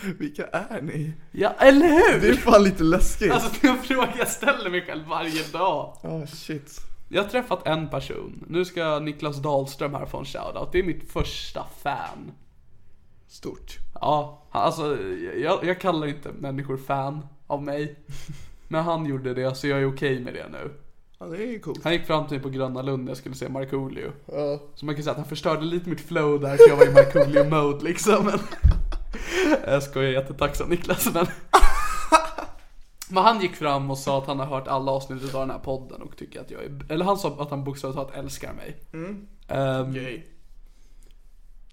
<laughs>
Vilka är ni?
Ja, eller
Det är
hur?
fan lite läskigt.
<laughs>
Ja,
Alltså det är en fråga jag ställer mig själv varje dag.
shit.
Jag har träffat en person. Nu ska Niklas Dahlström här få en shoutout. Det är mitt första fan.
Stort.
Ja, han- alltså jag, jag kallar inte människor fan av mig. Men han gjorde det så jag är okej med det nu.
Ja, det är ju coolt.
Han gick fram till mig på Gröna Lund när jag skulle se Markoolio.
Ja.
Så man kan säga att han förstörde lite mitt flow där för jag var i Markoolio-mode liksom. Men <laughs> Jag skojar jättetacksam Niklas men... <laughs> men han gick fram och sa att han har hört alla avsnitt av den här podden och tycker att jag är... Eller han sa att han bokstavligt talat älskar mig. Ehm,
Gay.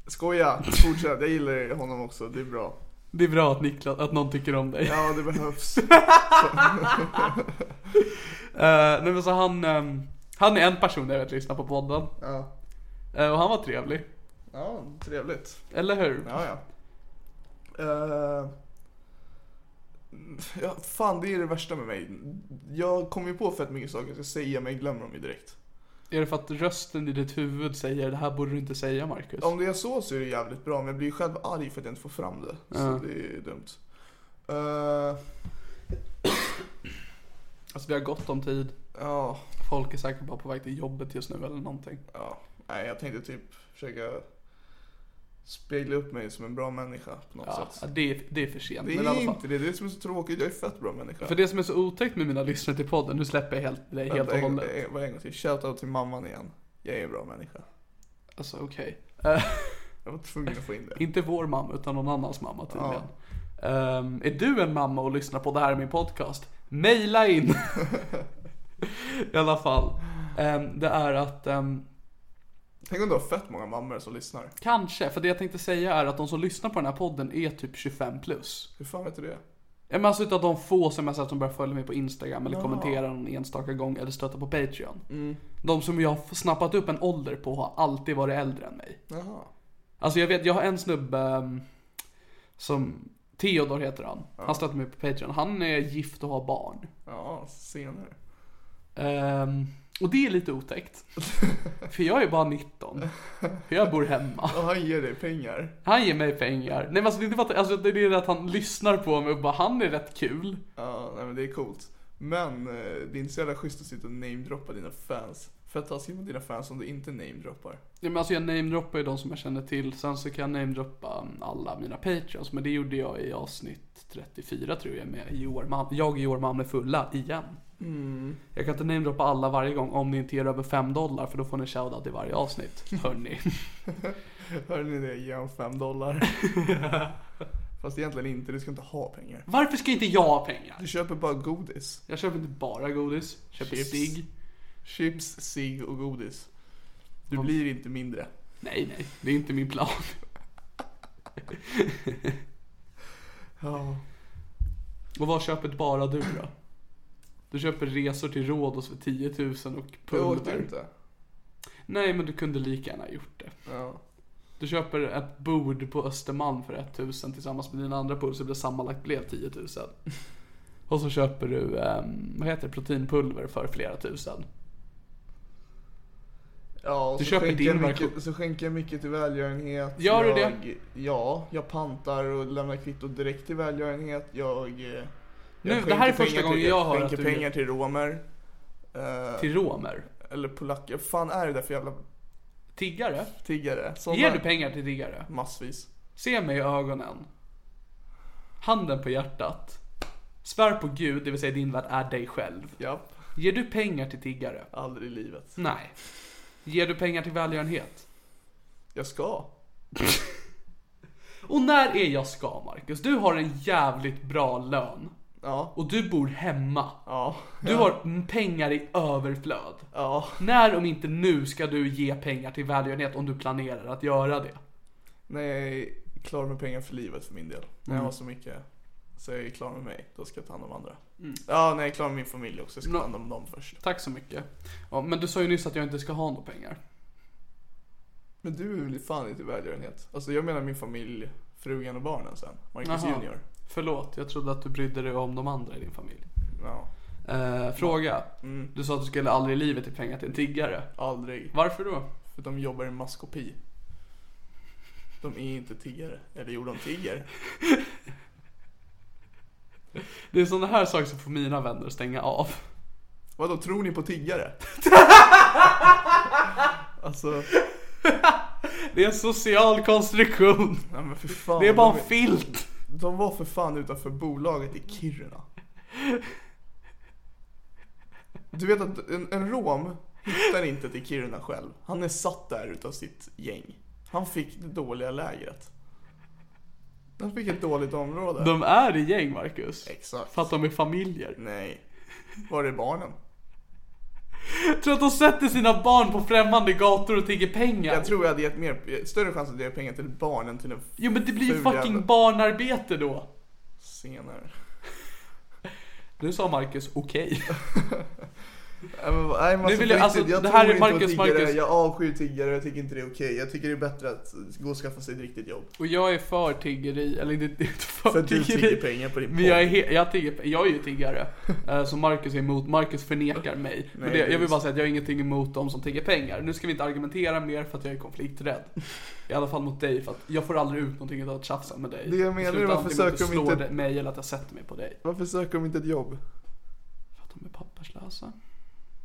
Skoja, fortsätt. Jag gillar honom också, det är bra.
det är bra att Niklas, att någon tycker om dig.
Ja,
<laughs>
det behövs.
Eh, nej men så han, ehm, han är en person jag vet lyssnar på podden.
Ja,
Eh, och han var trevlig.
ja trevligt.
Eller hur?
Ja, ja. Eh, ja. Fan, det är det värsta med mig. Jag kommer ju på fett mycket saker jag ska säga, men jag glömmer dem ju direkt.
Är det för att rösten i ditt huvud säger det här borde du inte säga Marcus?
Om det är så så är det jävligt bra, men jag blir ju själv arg för att jag inte får fram det.
Ja.
Så det är dumt. Eh,
Alltså vi har gott om tid.
ja,
Folk är säkert bara på väg till jobbet just nu eller någonting.
ja. Nej, jag tänkte typ försöka spegla upp mig som en bra människa på något
Ja,
sätt.
det, är- det är för sent.
Det
men i alla
är
fall.
inte det, det är det som är så tråkigt. Jag är fett bra människa.
För det som är så otäckt med mina lyssnare till podden, nu släpper jag helt, dig helt och
Vänta, en-
hållet.
en- bara en gång till. Shoutout till mamman igen. Jag är en bra människa.
Alltså okej. Eh, <laughs>
Jag var tvungen att få in det.
inte vår mamma utan någon annans mamma tydligen. Ehm, är du en mamma och lyssnar på det här i min podcast? Maila in! I alla fall. Ehm, det är att ehm,
Tänk om du har fett många mammor som lyssnar.
Kanske, för det jag tänkte säga är att de som lyssnar på den här podden är typ 25 plus.
Hur fan vet du det?
Ja, men Alltså utav de få som jag sett som börjar följa mig på Instagram eller kommentera någon enstaka gång eller stöta på Patreon. De som jag har f- snappat upp en ålder på har alltid varit äldre än mig.
Jaha.
Alltså jag vet, jag har en snubbe ehm, som, Theodor heter han. Han stöttar mig på Patreon. Han är gift och har barn.
Ja, senare.
Ehm, och det är lite otäckt. för jag är bara 19. För jag bor hemma.
Och han ger dig pengar.
Han ger mig pengar. Nej men alltså det är inte bara att, alltså, det är det att han lyssnar på mig och bara han är rätt kul.
Ja, nej men det är coolt. Men eh, det är inte så jävla schysst att sitta och namedroppa dina fans. Fett taskigt mot dina fans om du inte namedroppar.
Ja, men alltså jag namedroppar ju de som jag känner till. Sen så kan jag namedroppa alla mina patreons. Men det gjorde jag i avsnitt 34 tror jag med Joar Mam- Jag och Joar Malm är fulla igen. Jag kan inte namedroppa alla varje gång om ni inte ger över 5 dollar för då får ni shoutout i varje avsnitt. Hörni.
Hörde ni det? Ge honom fem dollar. Fast egentligen inte, du ska inte ha pengar.
Varför ska inte jag ha pengar?
Du köper bara godis.
Jag köper inte bara godis. Köper ju digg.
Chips, cigg och godis. Du blir inte mindre.
Nej, nej. Det är inte min plan.
Ja.
Och vad köper bara du då? Du köper resor till Rhodos för 10 000 och
Jag åkte
pulver.
inte.
Nej, men du kunde lika gärna gjort det.
Ja.
Du köper ett bord på Östermalm för 1 000 tillsammans med dina andra pulser så det sammanlagt blev 10 000. Och så köper du, ehm, vad heter det, proteinpulver för flera tusen.
Ja, och
Du
så,
köper
skänker jag
din version.
mycket, så skänker jag mycket till välgörenhet.
Gör du
jag,
det?
Ja, jag pantar och lämnar kvitto direkt till välgörenhet. Jag, eh, jag
det här
skänker
är första
pengar
gången
till,
jag hör att
skänker
du-
pengar till romer. eh,
Till romer.
Eller polacker. fan är det där för jävla
Tiggare?
tiggare? Såna
Ger du pengar till tiggare?
Massvis.
Se mig i ögonen. Handen på hjärtat. Svär på Gud, det vill säga din värld är dig själv.
Japp,
Ger du pengar till tiggare?
aldrig i livet.
Nej. Ger du pengar till välgörenhet?
Jag ska.
Och när är jag ska, Marcus? Du har en jävligt bra lön.
Ja.
Och du bor hemma.
Ja.
Du har pengar i överflöd.
Ja.
När om inte nu ska du ge pengar till välgörenhet om du planerar att göra det?
När jag är klar med pengar för livet för min del. När
Mm.
jag har så mycket så jag är klar med mig, då ska jag ta hand om andra. Ja, när jag är klar med min familj också, jag ska
Mm. Nå-
ta hand om dem först.
Tack så mycket. Ja, men du sa ju nyss att jag inte ska ha några pengar.
Men du är väl fan inte välgörenhet? Alltså jag menar min familj, frugan och barnen sen. Marcus
Jaha.
Junior.
Förlåt, jag trodde att du brydde dig om de andra i din familj.
Ja, Mm.
Eh, fråga. Du sa att du skulle aldrig i livet ge pengar till en tiggare.
aldrig.
Varför då?
För de jobbar i maskopi. De är inte tiggare. Eller jo, de tigger.
Det är sådana här saker som får mina vänner att stänga av.
Vadå, tror ni
<laughs>
på tiggare? alltså,
Det är en social konstruktion.
nej men för fan.
Det är bara en
de,
filt.
de var för fan utanför bolaget i Kiruna. Du vet att en, en rom hittar inte till Kiruna själv. Han är satt där utav sitt gäng. Han fick det dåliga lägret. De fick ett dåligt område.
De är i gäng Marcus.
Exakt.
För att de är familjer.
Nej. Var är barnen?
Jag tror att de sätter sina barn på främmande gator och tigger pengar.
Jag tror jag hade gett mer, större chans att ge pengar till barn än till en f-
Jo men det blir ju
Ful
fucking
jävel.
barnarbete då.
senare.
Nu sa Marcus okej.
Nej, men, nej, men
Nu
alltså,
vill
på
jag- alltså,
riktigt,
det
tror
här är
inte på
Marcus,
tiggare.
Marcus.
Jag avskyr tiggare, jag tycker inte det är okej. Jag tycker det är bättre att gå och skaffa sig ett riktigt jobb.
Och jag är för tiggeri, eller det, det är inte för,
För att du
tiggeri.
tigger pengar på din
Men jag är, he- jag, tigger, pe- jag är ju
<laughs>
tiggare. Eh, Så Marcus är emot, Marcus förnekar mig. Men
Nej,
det, jag vill
precis.
bara säga att jag har ingenting emot de som tigger pengar. Nu ska vi inte argumentera mer för att jag är konflikträdd. I alla fall mot dig för att jag får aldrig ut någonting av att tjafsa med dig.
Det jag menar är
slutar
varför
antingen med att du
söker de
slår
inte-
dig- mig eller att jag sätter mig på dig.
Varför söker de inte ett jobb?
För att de är papperslösa.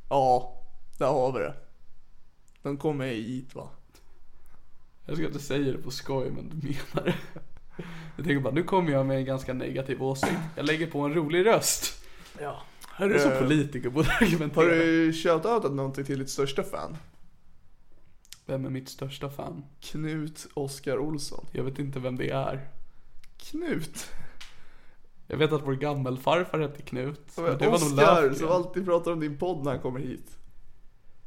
Ja, där har vi det. De kommer hit va?
Jag ska inte säga det på skoj men du menar det. Jag tänker bara, nu kommer jag med en ganska negativ åsikt. Jag lägger på en rolig röst.
Ja.
Här är du som politiker borde argumentera.
Eh, Har du shoutoutat någonting till ditt största fan?
Vem är mitt största fan?
Knut Oskar Olsson.
Jag vet inte vem det är.
Knut?
Jag vet att vår gammelfarfar hette Knut. men det var nog
Oskar
Löfgren.
som alltid pratar om din podd när han kommer hit.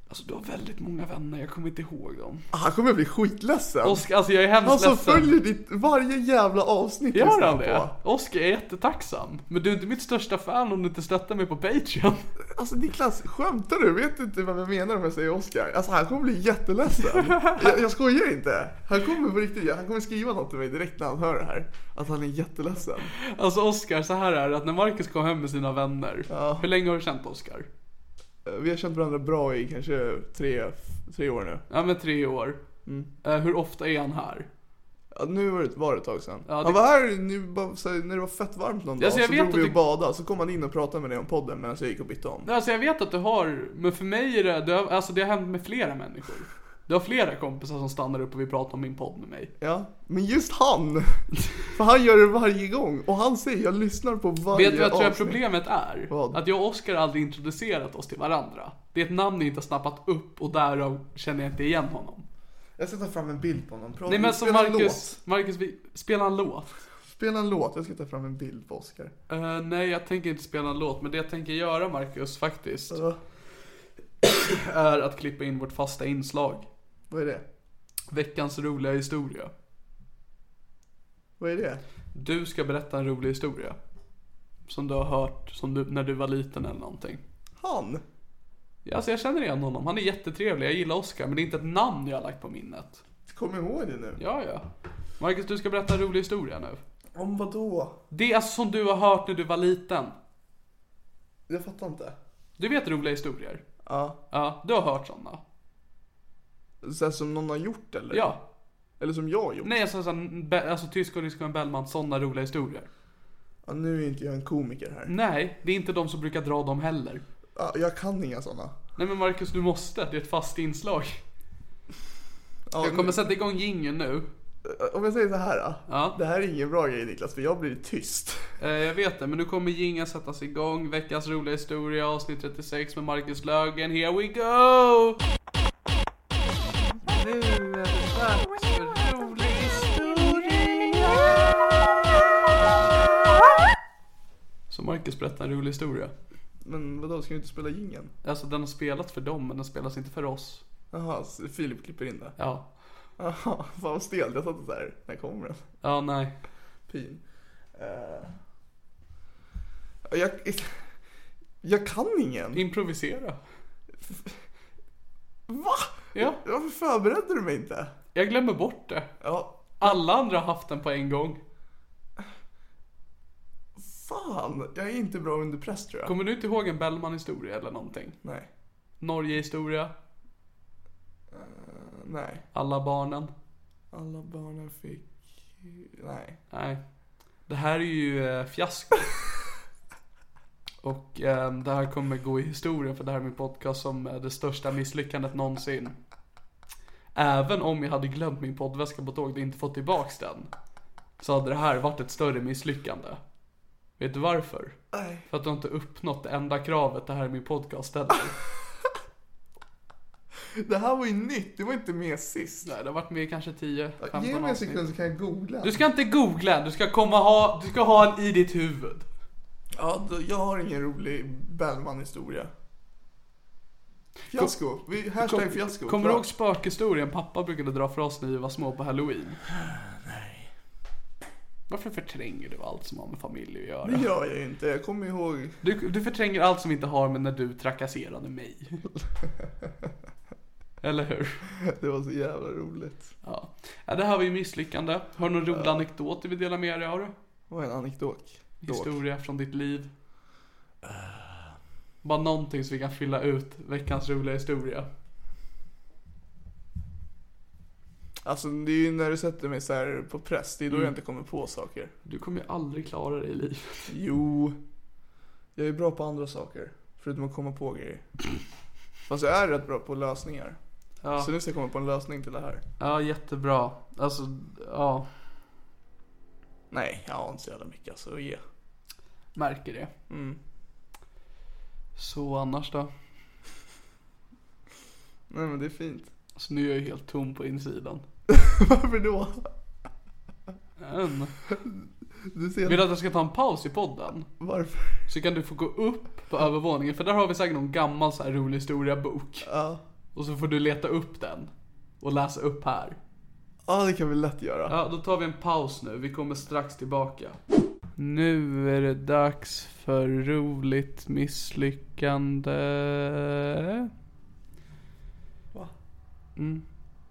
Alltså du har väldigt många vänner, jag kommer inte ihåg dem.
Ah, Han kommer bli skitledsen.
Oskar, alltså jag är hemskt
Han som
ledsen.
följer ditt varje jävla avsnitt
Gör
lyssnar
han
på.
det? Oskar, jag är jättetacksam. Men du är inte mitt största fan om du inte stöttar mig på Patreon. <laughs>
Alltså Niklas, skämtar du? Vet du inte vad jag menar om jag säger Oscar? Alltså han kommer bli jätteledsen. Jag, jag skojar inte. Han kommer på riktigt, han kommer skriva något till mig direkt när han hör det här. Att han är jätteledsen.
Alltså Oskar, så här är det att när Marcus kom hem med sina vänner. Hur länge har du känt Oskar?
Eh, Vi har känt varandra bra i kanske tre, tre år nu.
Ja men tre år.
Mm.
Eh, hur ofta är han här?
Ja, nu var det, var det ett tag sedan.
Ja, det-
Han var här nu, bara, så här, när det var fett varmt någon dag,
Alltså, jag
så
vet
drog
att
vi
du-
och badade. Så kom han in och pratade med dig om podden medan jag gick och bytte om.
Nej, Alltså jag vet att du har, men för mig är det, det har, alltså det har hänt med flera människor. Du har flera kompisar som stannar upp och vill prata om min podd med mig.
Ja, men
<laughs>
just han! För han gör det varje gång. Och han säger jag lyssnar på varje
Vet du vad jag tror att
avsnitt.
problemet är?
Vad?
Att jag och Oskar aldrig introducerat oss till varandra. Det är ett namn jag inte har snappat upp och därav känner jag inte igen honom.
Jag ska ta fram en bild på honom. Prata,
Nej men alltså
spela en låt.
Marcus, Marcus vi, spela en låt.
Spela en låt, jag ska ta fram en bild på Oscar.
Eh, nej jag tänker inte spela en låt, men det jag tänker göra Marcus faktiskt,
Så,
är att klippa in vårt fasta inslag.
vad är det?
Veckans roliga historia.
Vad är det?
Du ska berätta en rolig historia. Som du har hört som du, när du var liten eller någonting.
Han?
Ja, Alltså jag känner igen honom, han är jättetrevlig, jag gillar Oscar men det är inte ett namn jag har lagt på minnet.
Kom ihåg det nu.
Ja, ja. Marcus, du ska berätta en rolig historia nu.
Om vad då?
Det är alltså som du har hört när du var liten.
Jag fattar inte.
Du vet roliga historier?
Ja.
Ja, du har hört sådana?
Så här som någon har gjort eller?
Ja.
Eller som jag har gjort?
Nej, alltså, alltså, Be- alltså tysk och rysk och en Bellman, sådana roliga historier.
Ja, nu är inte jag en komiker
Mm.
här.
Nej, det är inte de som brukar dra dem heller.
Ja, jag kan inga sådana.
Nej men Marcus, du måste. Det är ett fast inslag.
Ja,
Jag kommer sätta igång jingeln nu.
men- Om jag säger så här.
Ja.
Det här är ingen bra grej Niklas, för jag blir tyst.
Eh, jag vet det, men nu kommer jingeln sättas igång. Veckans roliga historia, avsnitt 36 med Marcus Lögen. Here we go! Nu är det dags för rolig historia! Så Marcus berättar en rolig historia.
Men vadå, ska du inte spela jingeln?
Alltså den har spelat för dem, men den spelas inte för oss.
Jaha, så Filip klipper in det.
Ja.
Jaha, fan vad stel. Jag satt så här. När kommer den?
Ja, nej.
Pin. Eh, jag, jag kan ingen.
Improvisera.
Va?
Ja,
Varför förberedde du mig inte?
jag glömmer bort det.
Ja,
Alla andra har haft den på en gång.
fan. Jag är inte bra under press tror jag.
Kommer du inte ihåg en Bellman-historia eller någonting?
Nej.
Norge-historia?
Nej.
Alla barnen?
Alla barnen fick... Nej.
Nej. Det här är ju eh,
<laughs>
fiasko. Och eh, det här kommer gå i historien för det här är min podcast som eh, det största misslyckandet någonsin. Även om jag hade glömt min poddväska på tåget och inte fått tillbaks den. Så hade det här varit ett större misslyckande. Vet du varför?
Nej. <laughs>
För att du inte uppnått det enda kravet det här är min podcast ställer.
Det här var ju nytt, det var inte med sist.
Nej, det har varit med i kanske 10,
Ja, Ge
15
mig en
avsnitt.
sekund så kan jag googla.
Du ska inte googla, du ska komma ha, du ska ha en i ditt huvud.
Ja, då, jag har ingen rolig Bellman-historia. Fiasko. Vi, hashtag fiasko.
Kommer
Bra.
du ihåg spökhistorien pappa brukade dra för oss när vi var små på halloween? Nej. Varför förtränger du allt som har med familj att
Det
göra?
gör jag ju inte. Jag kommer ihåg.
Du, du förtränger allt som inte har med när du trakasserade mig. Eller hur?
Det var så jävla roligt.
Ja. ja det här var ju misslyckande. Har du någon rolig anekdot du vill dela med dig av?
Vad är en anekdok?
Historia från ditt liv? Bara någonting så vi kan fylla ut veckans roliga historia.
Alltså det är ju när du sätter mig så här på press, det är då
Mm.
jag inte kommer på saker.
Du kommer ju aldrig klara dig i livet.
Jo, jag är bra på andra saker. Förutom att komma på grejer. Fast jag är rätt bra på lösningar.
Ja.
Så nu ska jag komma på en lösning till det här.
ja, jättebra. Alltså, ja.
Nej, jag har inte så jävla mycket alltså att ge.
Märker det.
Mm.
Så annars då?
Nej men det
<laughs>
är fint.
Så Alltså, nu är jag ju helt tom på insidan.
Varför då?
Men,
Du ser
vill du att jag ska ta en paus i podden?
varför?
Så kan du få gå upp på övervåningen, för där har vi säkert någon gammal så här rolig historia-bok.
Ja.
Och så får du leta upp den. Och läsa upp här.
Ja, det kan vi lätt göra.
Ja, då tar vi en paus nu. Vi kommer strax tillbaka. Nu är det dags för roligt misslyckande.
Va?
Mm.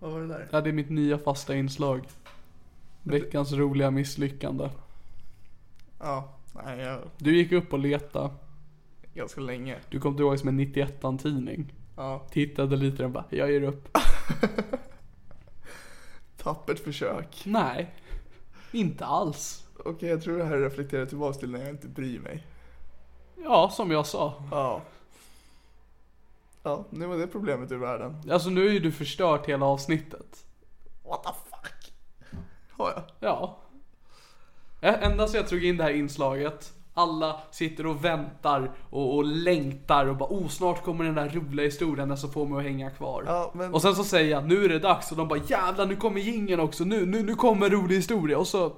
Vad var det där?
Ja, det är mitt nya fasta inslag. Veckans roliga misslyckande.
Ja, nej jag...
Du gick upp och letade.
Ganska länge.
Du kom tillbaka som en 91 tidning.
Ja.
Tittade lite och bara, jag ger upp.
Tappert försök.
Nej, inte alls.
Okej, jag tror det här reflekterar tillbaks till när jag inte bryr mig.
Ja, som jag sa.
Ja. Ja, nu var det problemet ur världen.
Alltså nu är ju du förstört hela avsnittet.
What the fuck? Har jag?
Ja. Ä- Ända så jag drog in det här inslaget. Alla sitter och väntar och, och längtar och bara oh, snart kommer den där roliga historien som får mig att hänga kvar.
Ja, men-
Och sen så säger jag nu är det dags och de bara jävlar nu kommer jingeln också, nu, nu, nu kommer en rolig historia och så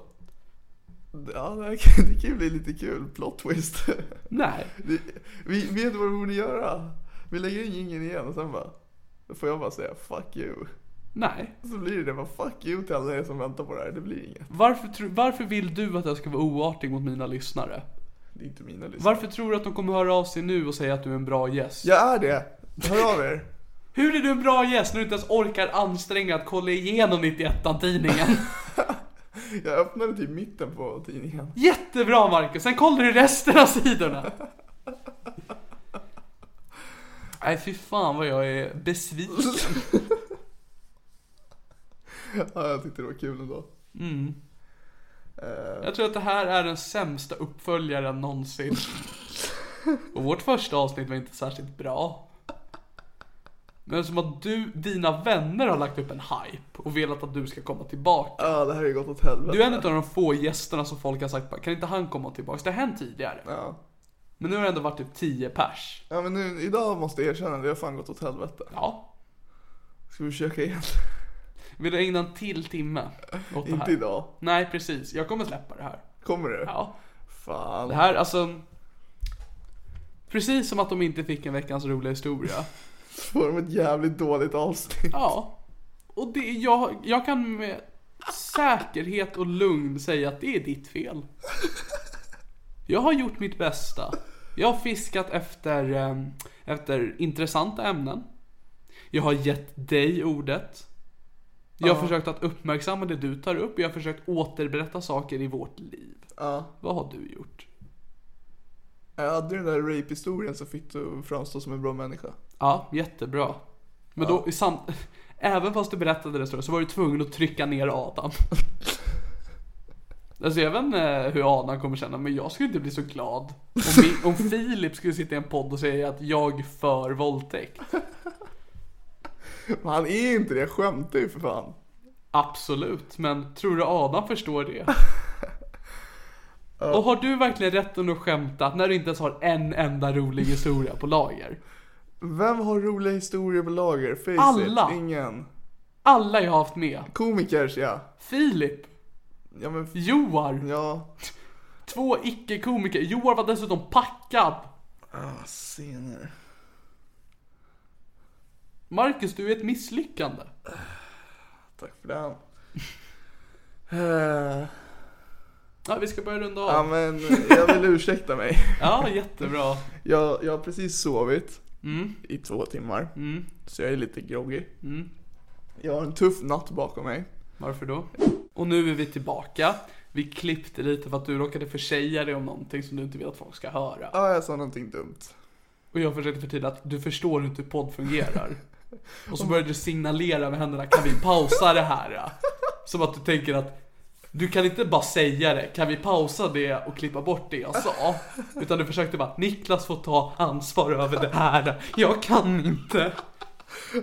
Ja, det här kan, det kan ju bli lite kul. Plot twist.
nej.
Det, vi vi vet vad vi borde göra. Vi lägger in ingen igen och sen bara... Då får jag bara säga fuck you.
Nej.
Så blir det det bara fuck you till alla er som väntar på det här. Det blir inget.
Varför, tro- varför vill du att jag ska vara oartig mot mina lyssnare?
Det är inte mina lyssnare.
Varför tror du att de kommer höra av sig nu och säga att du är en bra gäst?
Jag är det. Hör av er.
Hur är du en bra gäst när du inte ens orkar anstränga att kolla igenom 91-tidningen? <laughs>
Jag öppnade typ mitten på tidningen.
Jättebra Marcus, sen kollar du resten av sidorna. Nej fy fan vad jag är besviken.
Ja, jag tyckte det var kul ändå.
Mm.
Eh,
Jag tror att det här är den sämsta uppföljaren någonsin. Och vårt första avsnitt var inte särskilt bra. Men som att du, dina vänner har lagt upp en hype och velat att du ska komma tillbaka.
Ja, det här har ju gått åt helvete.
Du är en av de få gästerna som folk har sagt kan inte han komma tillbaka? Det har hänt tidigare.
Ja.
Men nu har det ändå varit typ 10 pers.
Ja men nu, idag måste jag erkänna, det har fan gått åt helvete.
Ja,
Ska vi försöka igen?
Vill du ägna en till timme åt det här?
Inte idag.
Nej, precis. Jag kommer släppa det här.
Kommer du?
Ja.
Fan.
Det här, alltså... Precis som att de inte fick en veckans roliga historia.
Får de ett jävligt dåligt avsnitt.
Ja. Och det, jag, jag kan med säkerhet och lugn säga att det är ditt fel. Jag har gjort mitt bästa. Jag har fiskat efter, eh, efter intressanta ämnen. Jag har gett dig ordet. Jag har försökt att uppmärksamma det du tar upp. Jag har försökt återberätta saker i vårt liv.
Ja.
Vad har du gjort?
Jag hade ju den där rape-historien som fick dig att framstå som en bra människa.
Ja, jättebra. Men då, i sam... <laughs> även fast du berättade det så så var du tvungen att trycka ner Adam. Alltså jag vet inte hur Adam kommer känna, men jag skulle inte bli så glad om, vi, om Filip skulle sitta i en podd och säga att jag för våldtäkt.
Men han är inte det, jag skämtar ju för fan.
Absolut, men tror du Adam förstår det? Och har du verkligen rätten att skämta när du inte ens har en enda rolig historia på lager?
Vem har roliga historier på lager? Face
Alla.
It, ingen.
Alla jag har haft med.
Komikers ja.
Filip,
Ja men f-
Joar,
ja.
två icke-komiker. Joar var dessutom packad.
Ah, scener.
Marcus, du är ett misslyckande.
Tack för den. Eh,
Ja, vi ska börja runda
Ja
av.
men jag vill ursäkta mig.
Ja, jättebra.
Jag, jag har precis sovit
Mm.
i två timmar. Så jag är lite groggy. Jag har en tuff natt bakom mig.
Varför då? Och nu är vi tillbaka. Vi klippte lite för att du råkade försäga dig om någonting som du inte vill att folk ska höra.
Ja, Ah, jag sa någonting dumt.
Och jag försökte förtydliga att du förstår inte hur typ podd fungerar. Och så började du signalera med händerna, kan vi pausa det här? ja?" Som att du tänker att du kan inte bara säga det, kan vi pausa det och klippa bort det jag sa? Utan du försökte bara, Niklas får ta ansvar över det här, jag kan inte.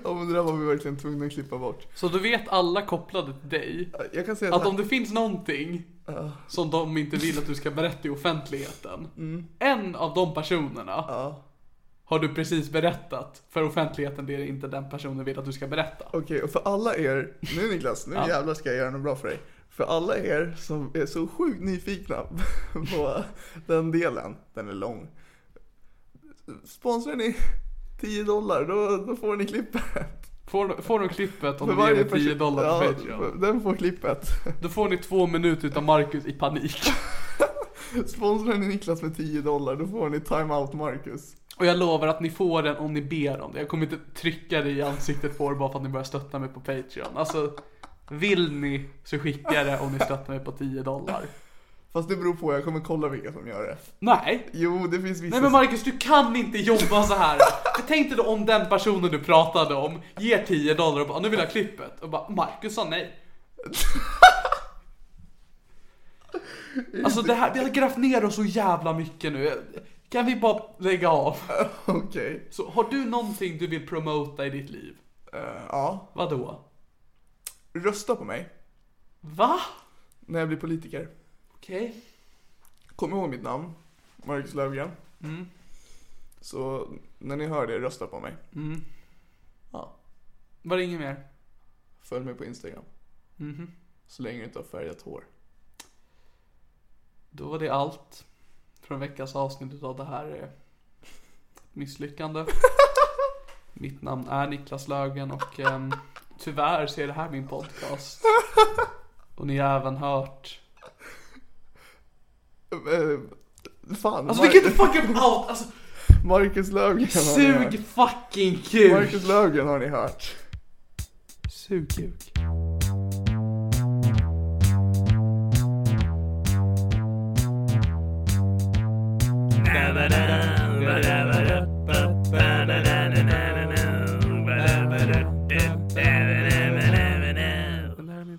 Ja men det där var vi verkligen tvungna att klippa bort.
Så du vet alla kopplade till dig,
Jag kan säga
Att om
att
det finns någonting som de inte vill att du ska berätta i offentligheten.
Mm.
En av de personerna har du precis berättat för offentligheten det är inte den personen vill att du ska berätta.
Okej, och för alla er, nu Niklas, nu jävlar ska jag göra något bra för dig. För alla er som är så sjukt nyfikna på den delen, den är lång. Sponsrar ni 10 dollar, då, då får ni klippet.
Får, får du klippet om du ger mig 10 dollar på
ja,
Patreon.
den får klippet.
Då får ni två minuter utav Marcus i
<laughs>
panik.
Sponsrar ni Niklas med 10 dollar, då får ni time out Marcus.
Och jag lovar att ni får den om ni ber om det. Jag kommer inte trycka det i ansiktet på er bara för att ni börjar stötta mig på Patreon. Alltså, vill ni så skicka det om ni stöttar mig på 10 dollar.
Fast det beror på, jag kommer kolla vilka som gör det.
Nej,
Jo, det finns vissa
Nej men Marcus, du kan inte jobba så här. Tänk dig då om den personen du pratade om ger 10 dollar och bara nu vill jag ha klippet. Och bara Marcus sa nej. Alltså det här, vi har grävt ner oss så jävla mycket nu. Kan vi bara lägga av?
Okej.
Så har du någonting du vill promota i ditt liv?
Eh, ja.
Vadå?
Rösta på mig
Va?
när jag blir politiker.
Okej.
Kom ihåg mitt namn, Marcus Löfgren.
Mm.
Så när ni hör det, rösta på mig. Ja,
Var det inget mer?
följ mig på Instagram.
Mhm.
Så länge du inte har färgat hår.
Då var det allt från veckans avsnitt utav det här eh, <laughs> misslyckande. Mitt namn är Niklas Lögen och ehm, tyvärr så är det här min <laughs> podcast. Och ni har även hört...
Eh, fan,
Alltså vi kan inte fucking out! Alltså,
Marcus Löfgren har ni hört.
sug fucking kuk!
Marcus Löfgren har ni hört.
Sug kuk. Det här är min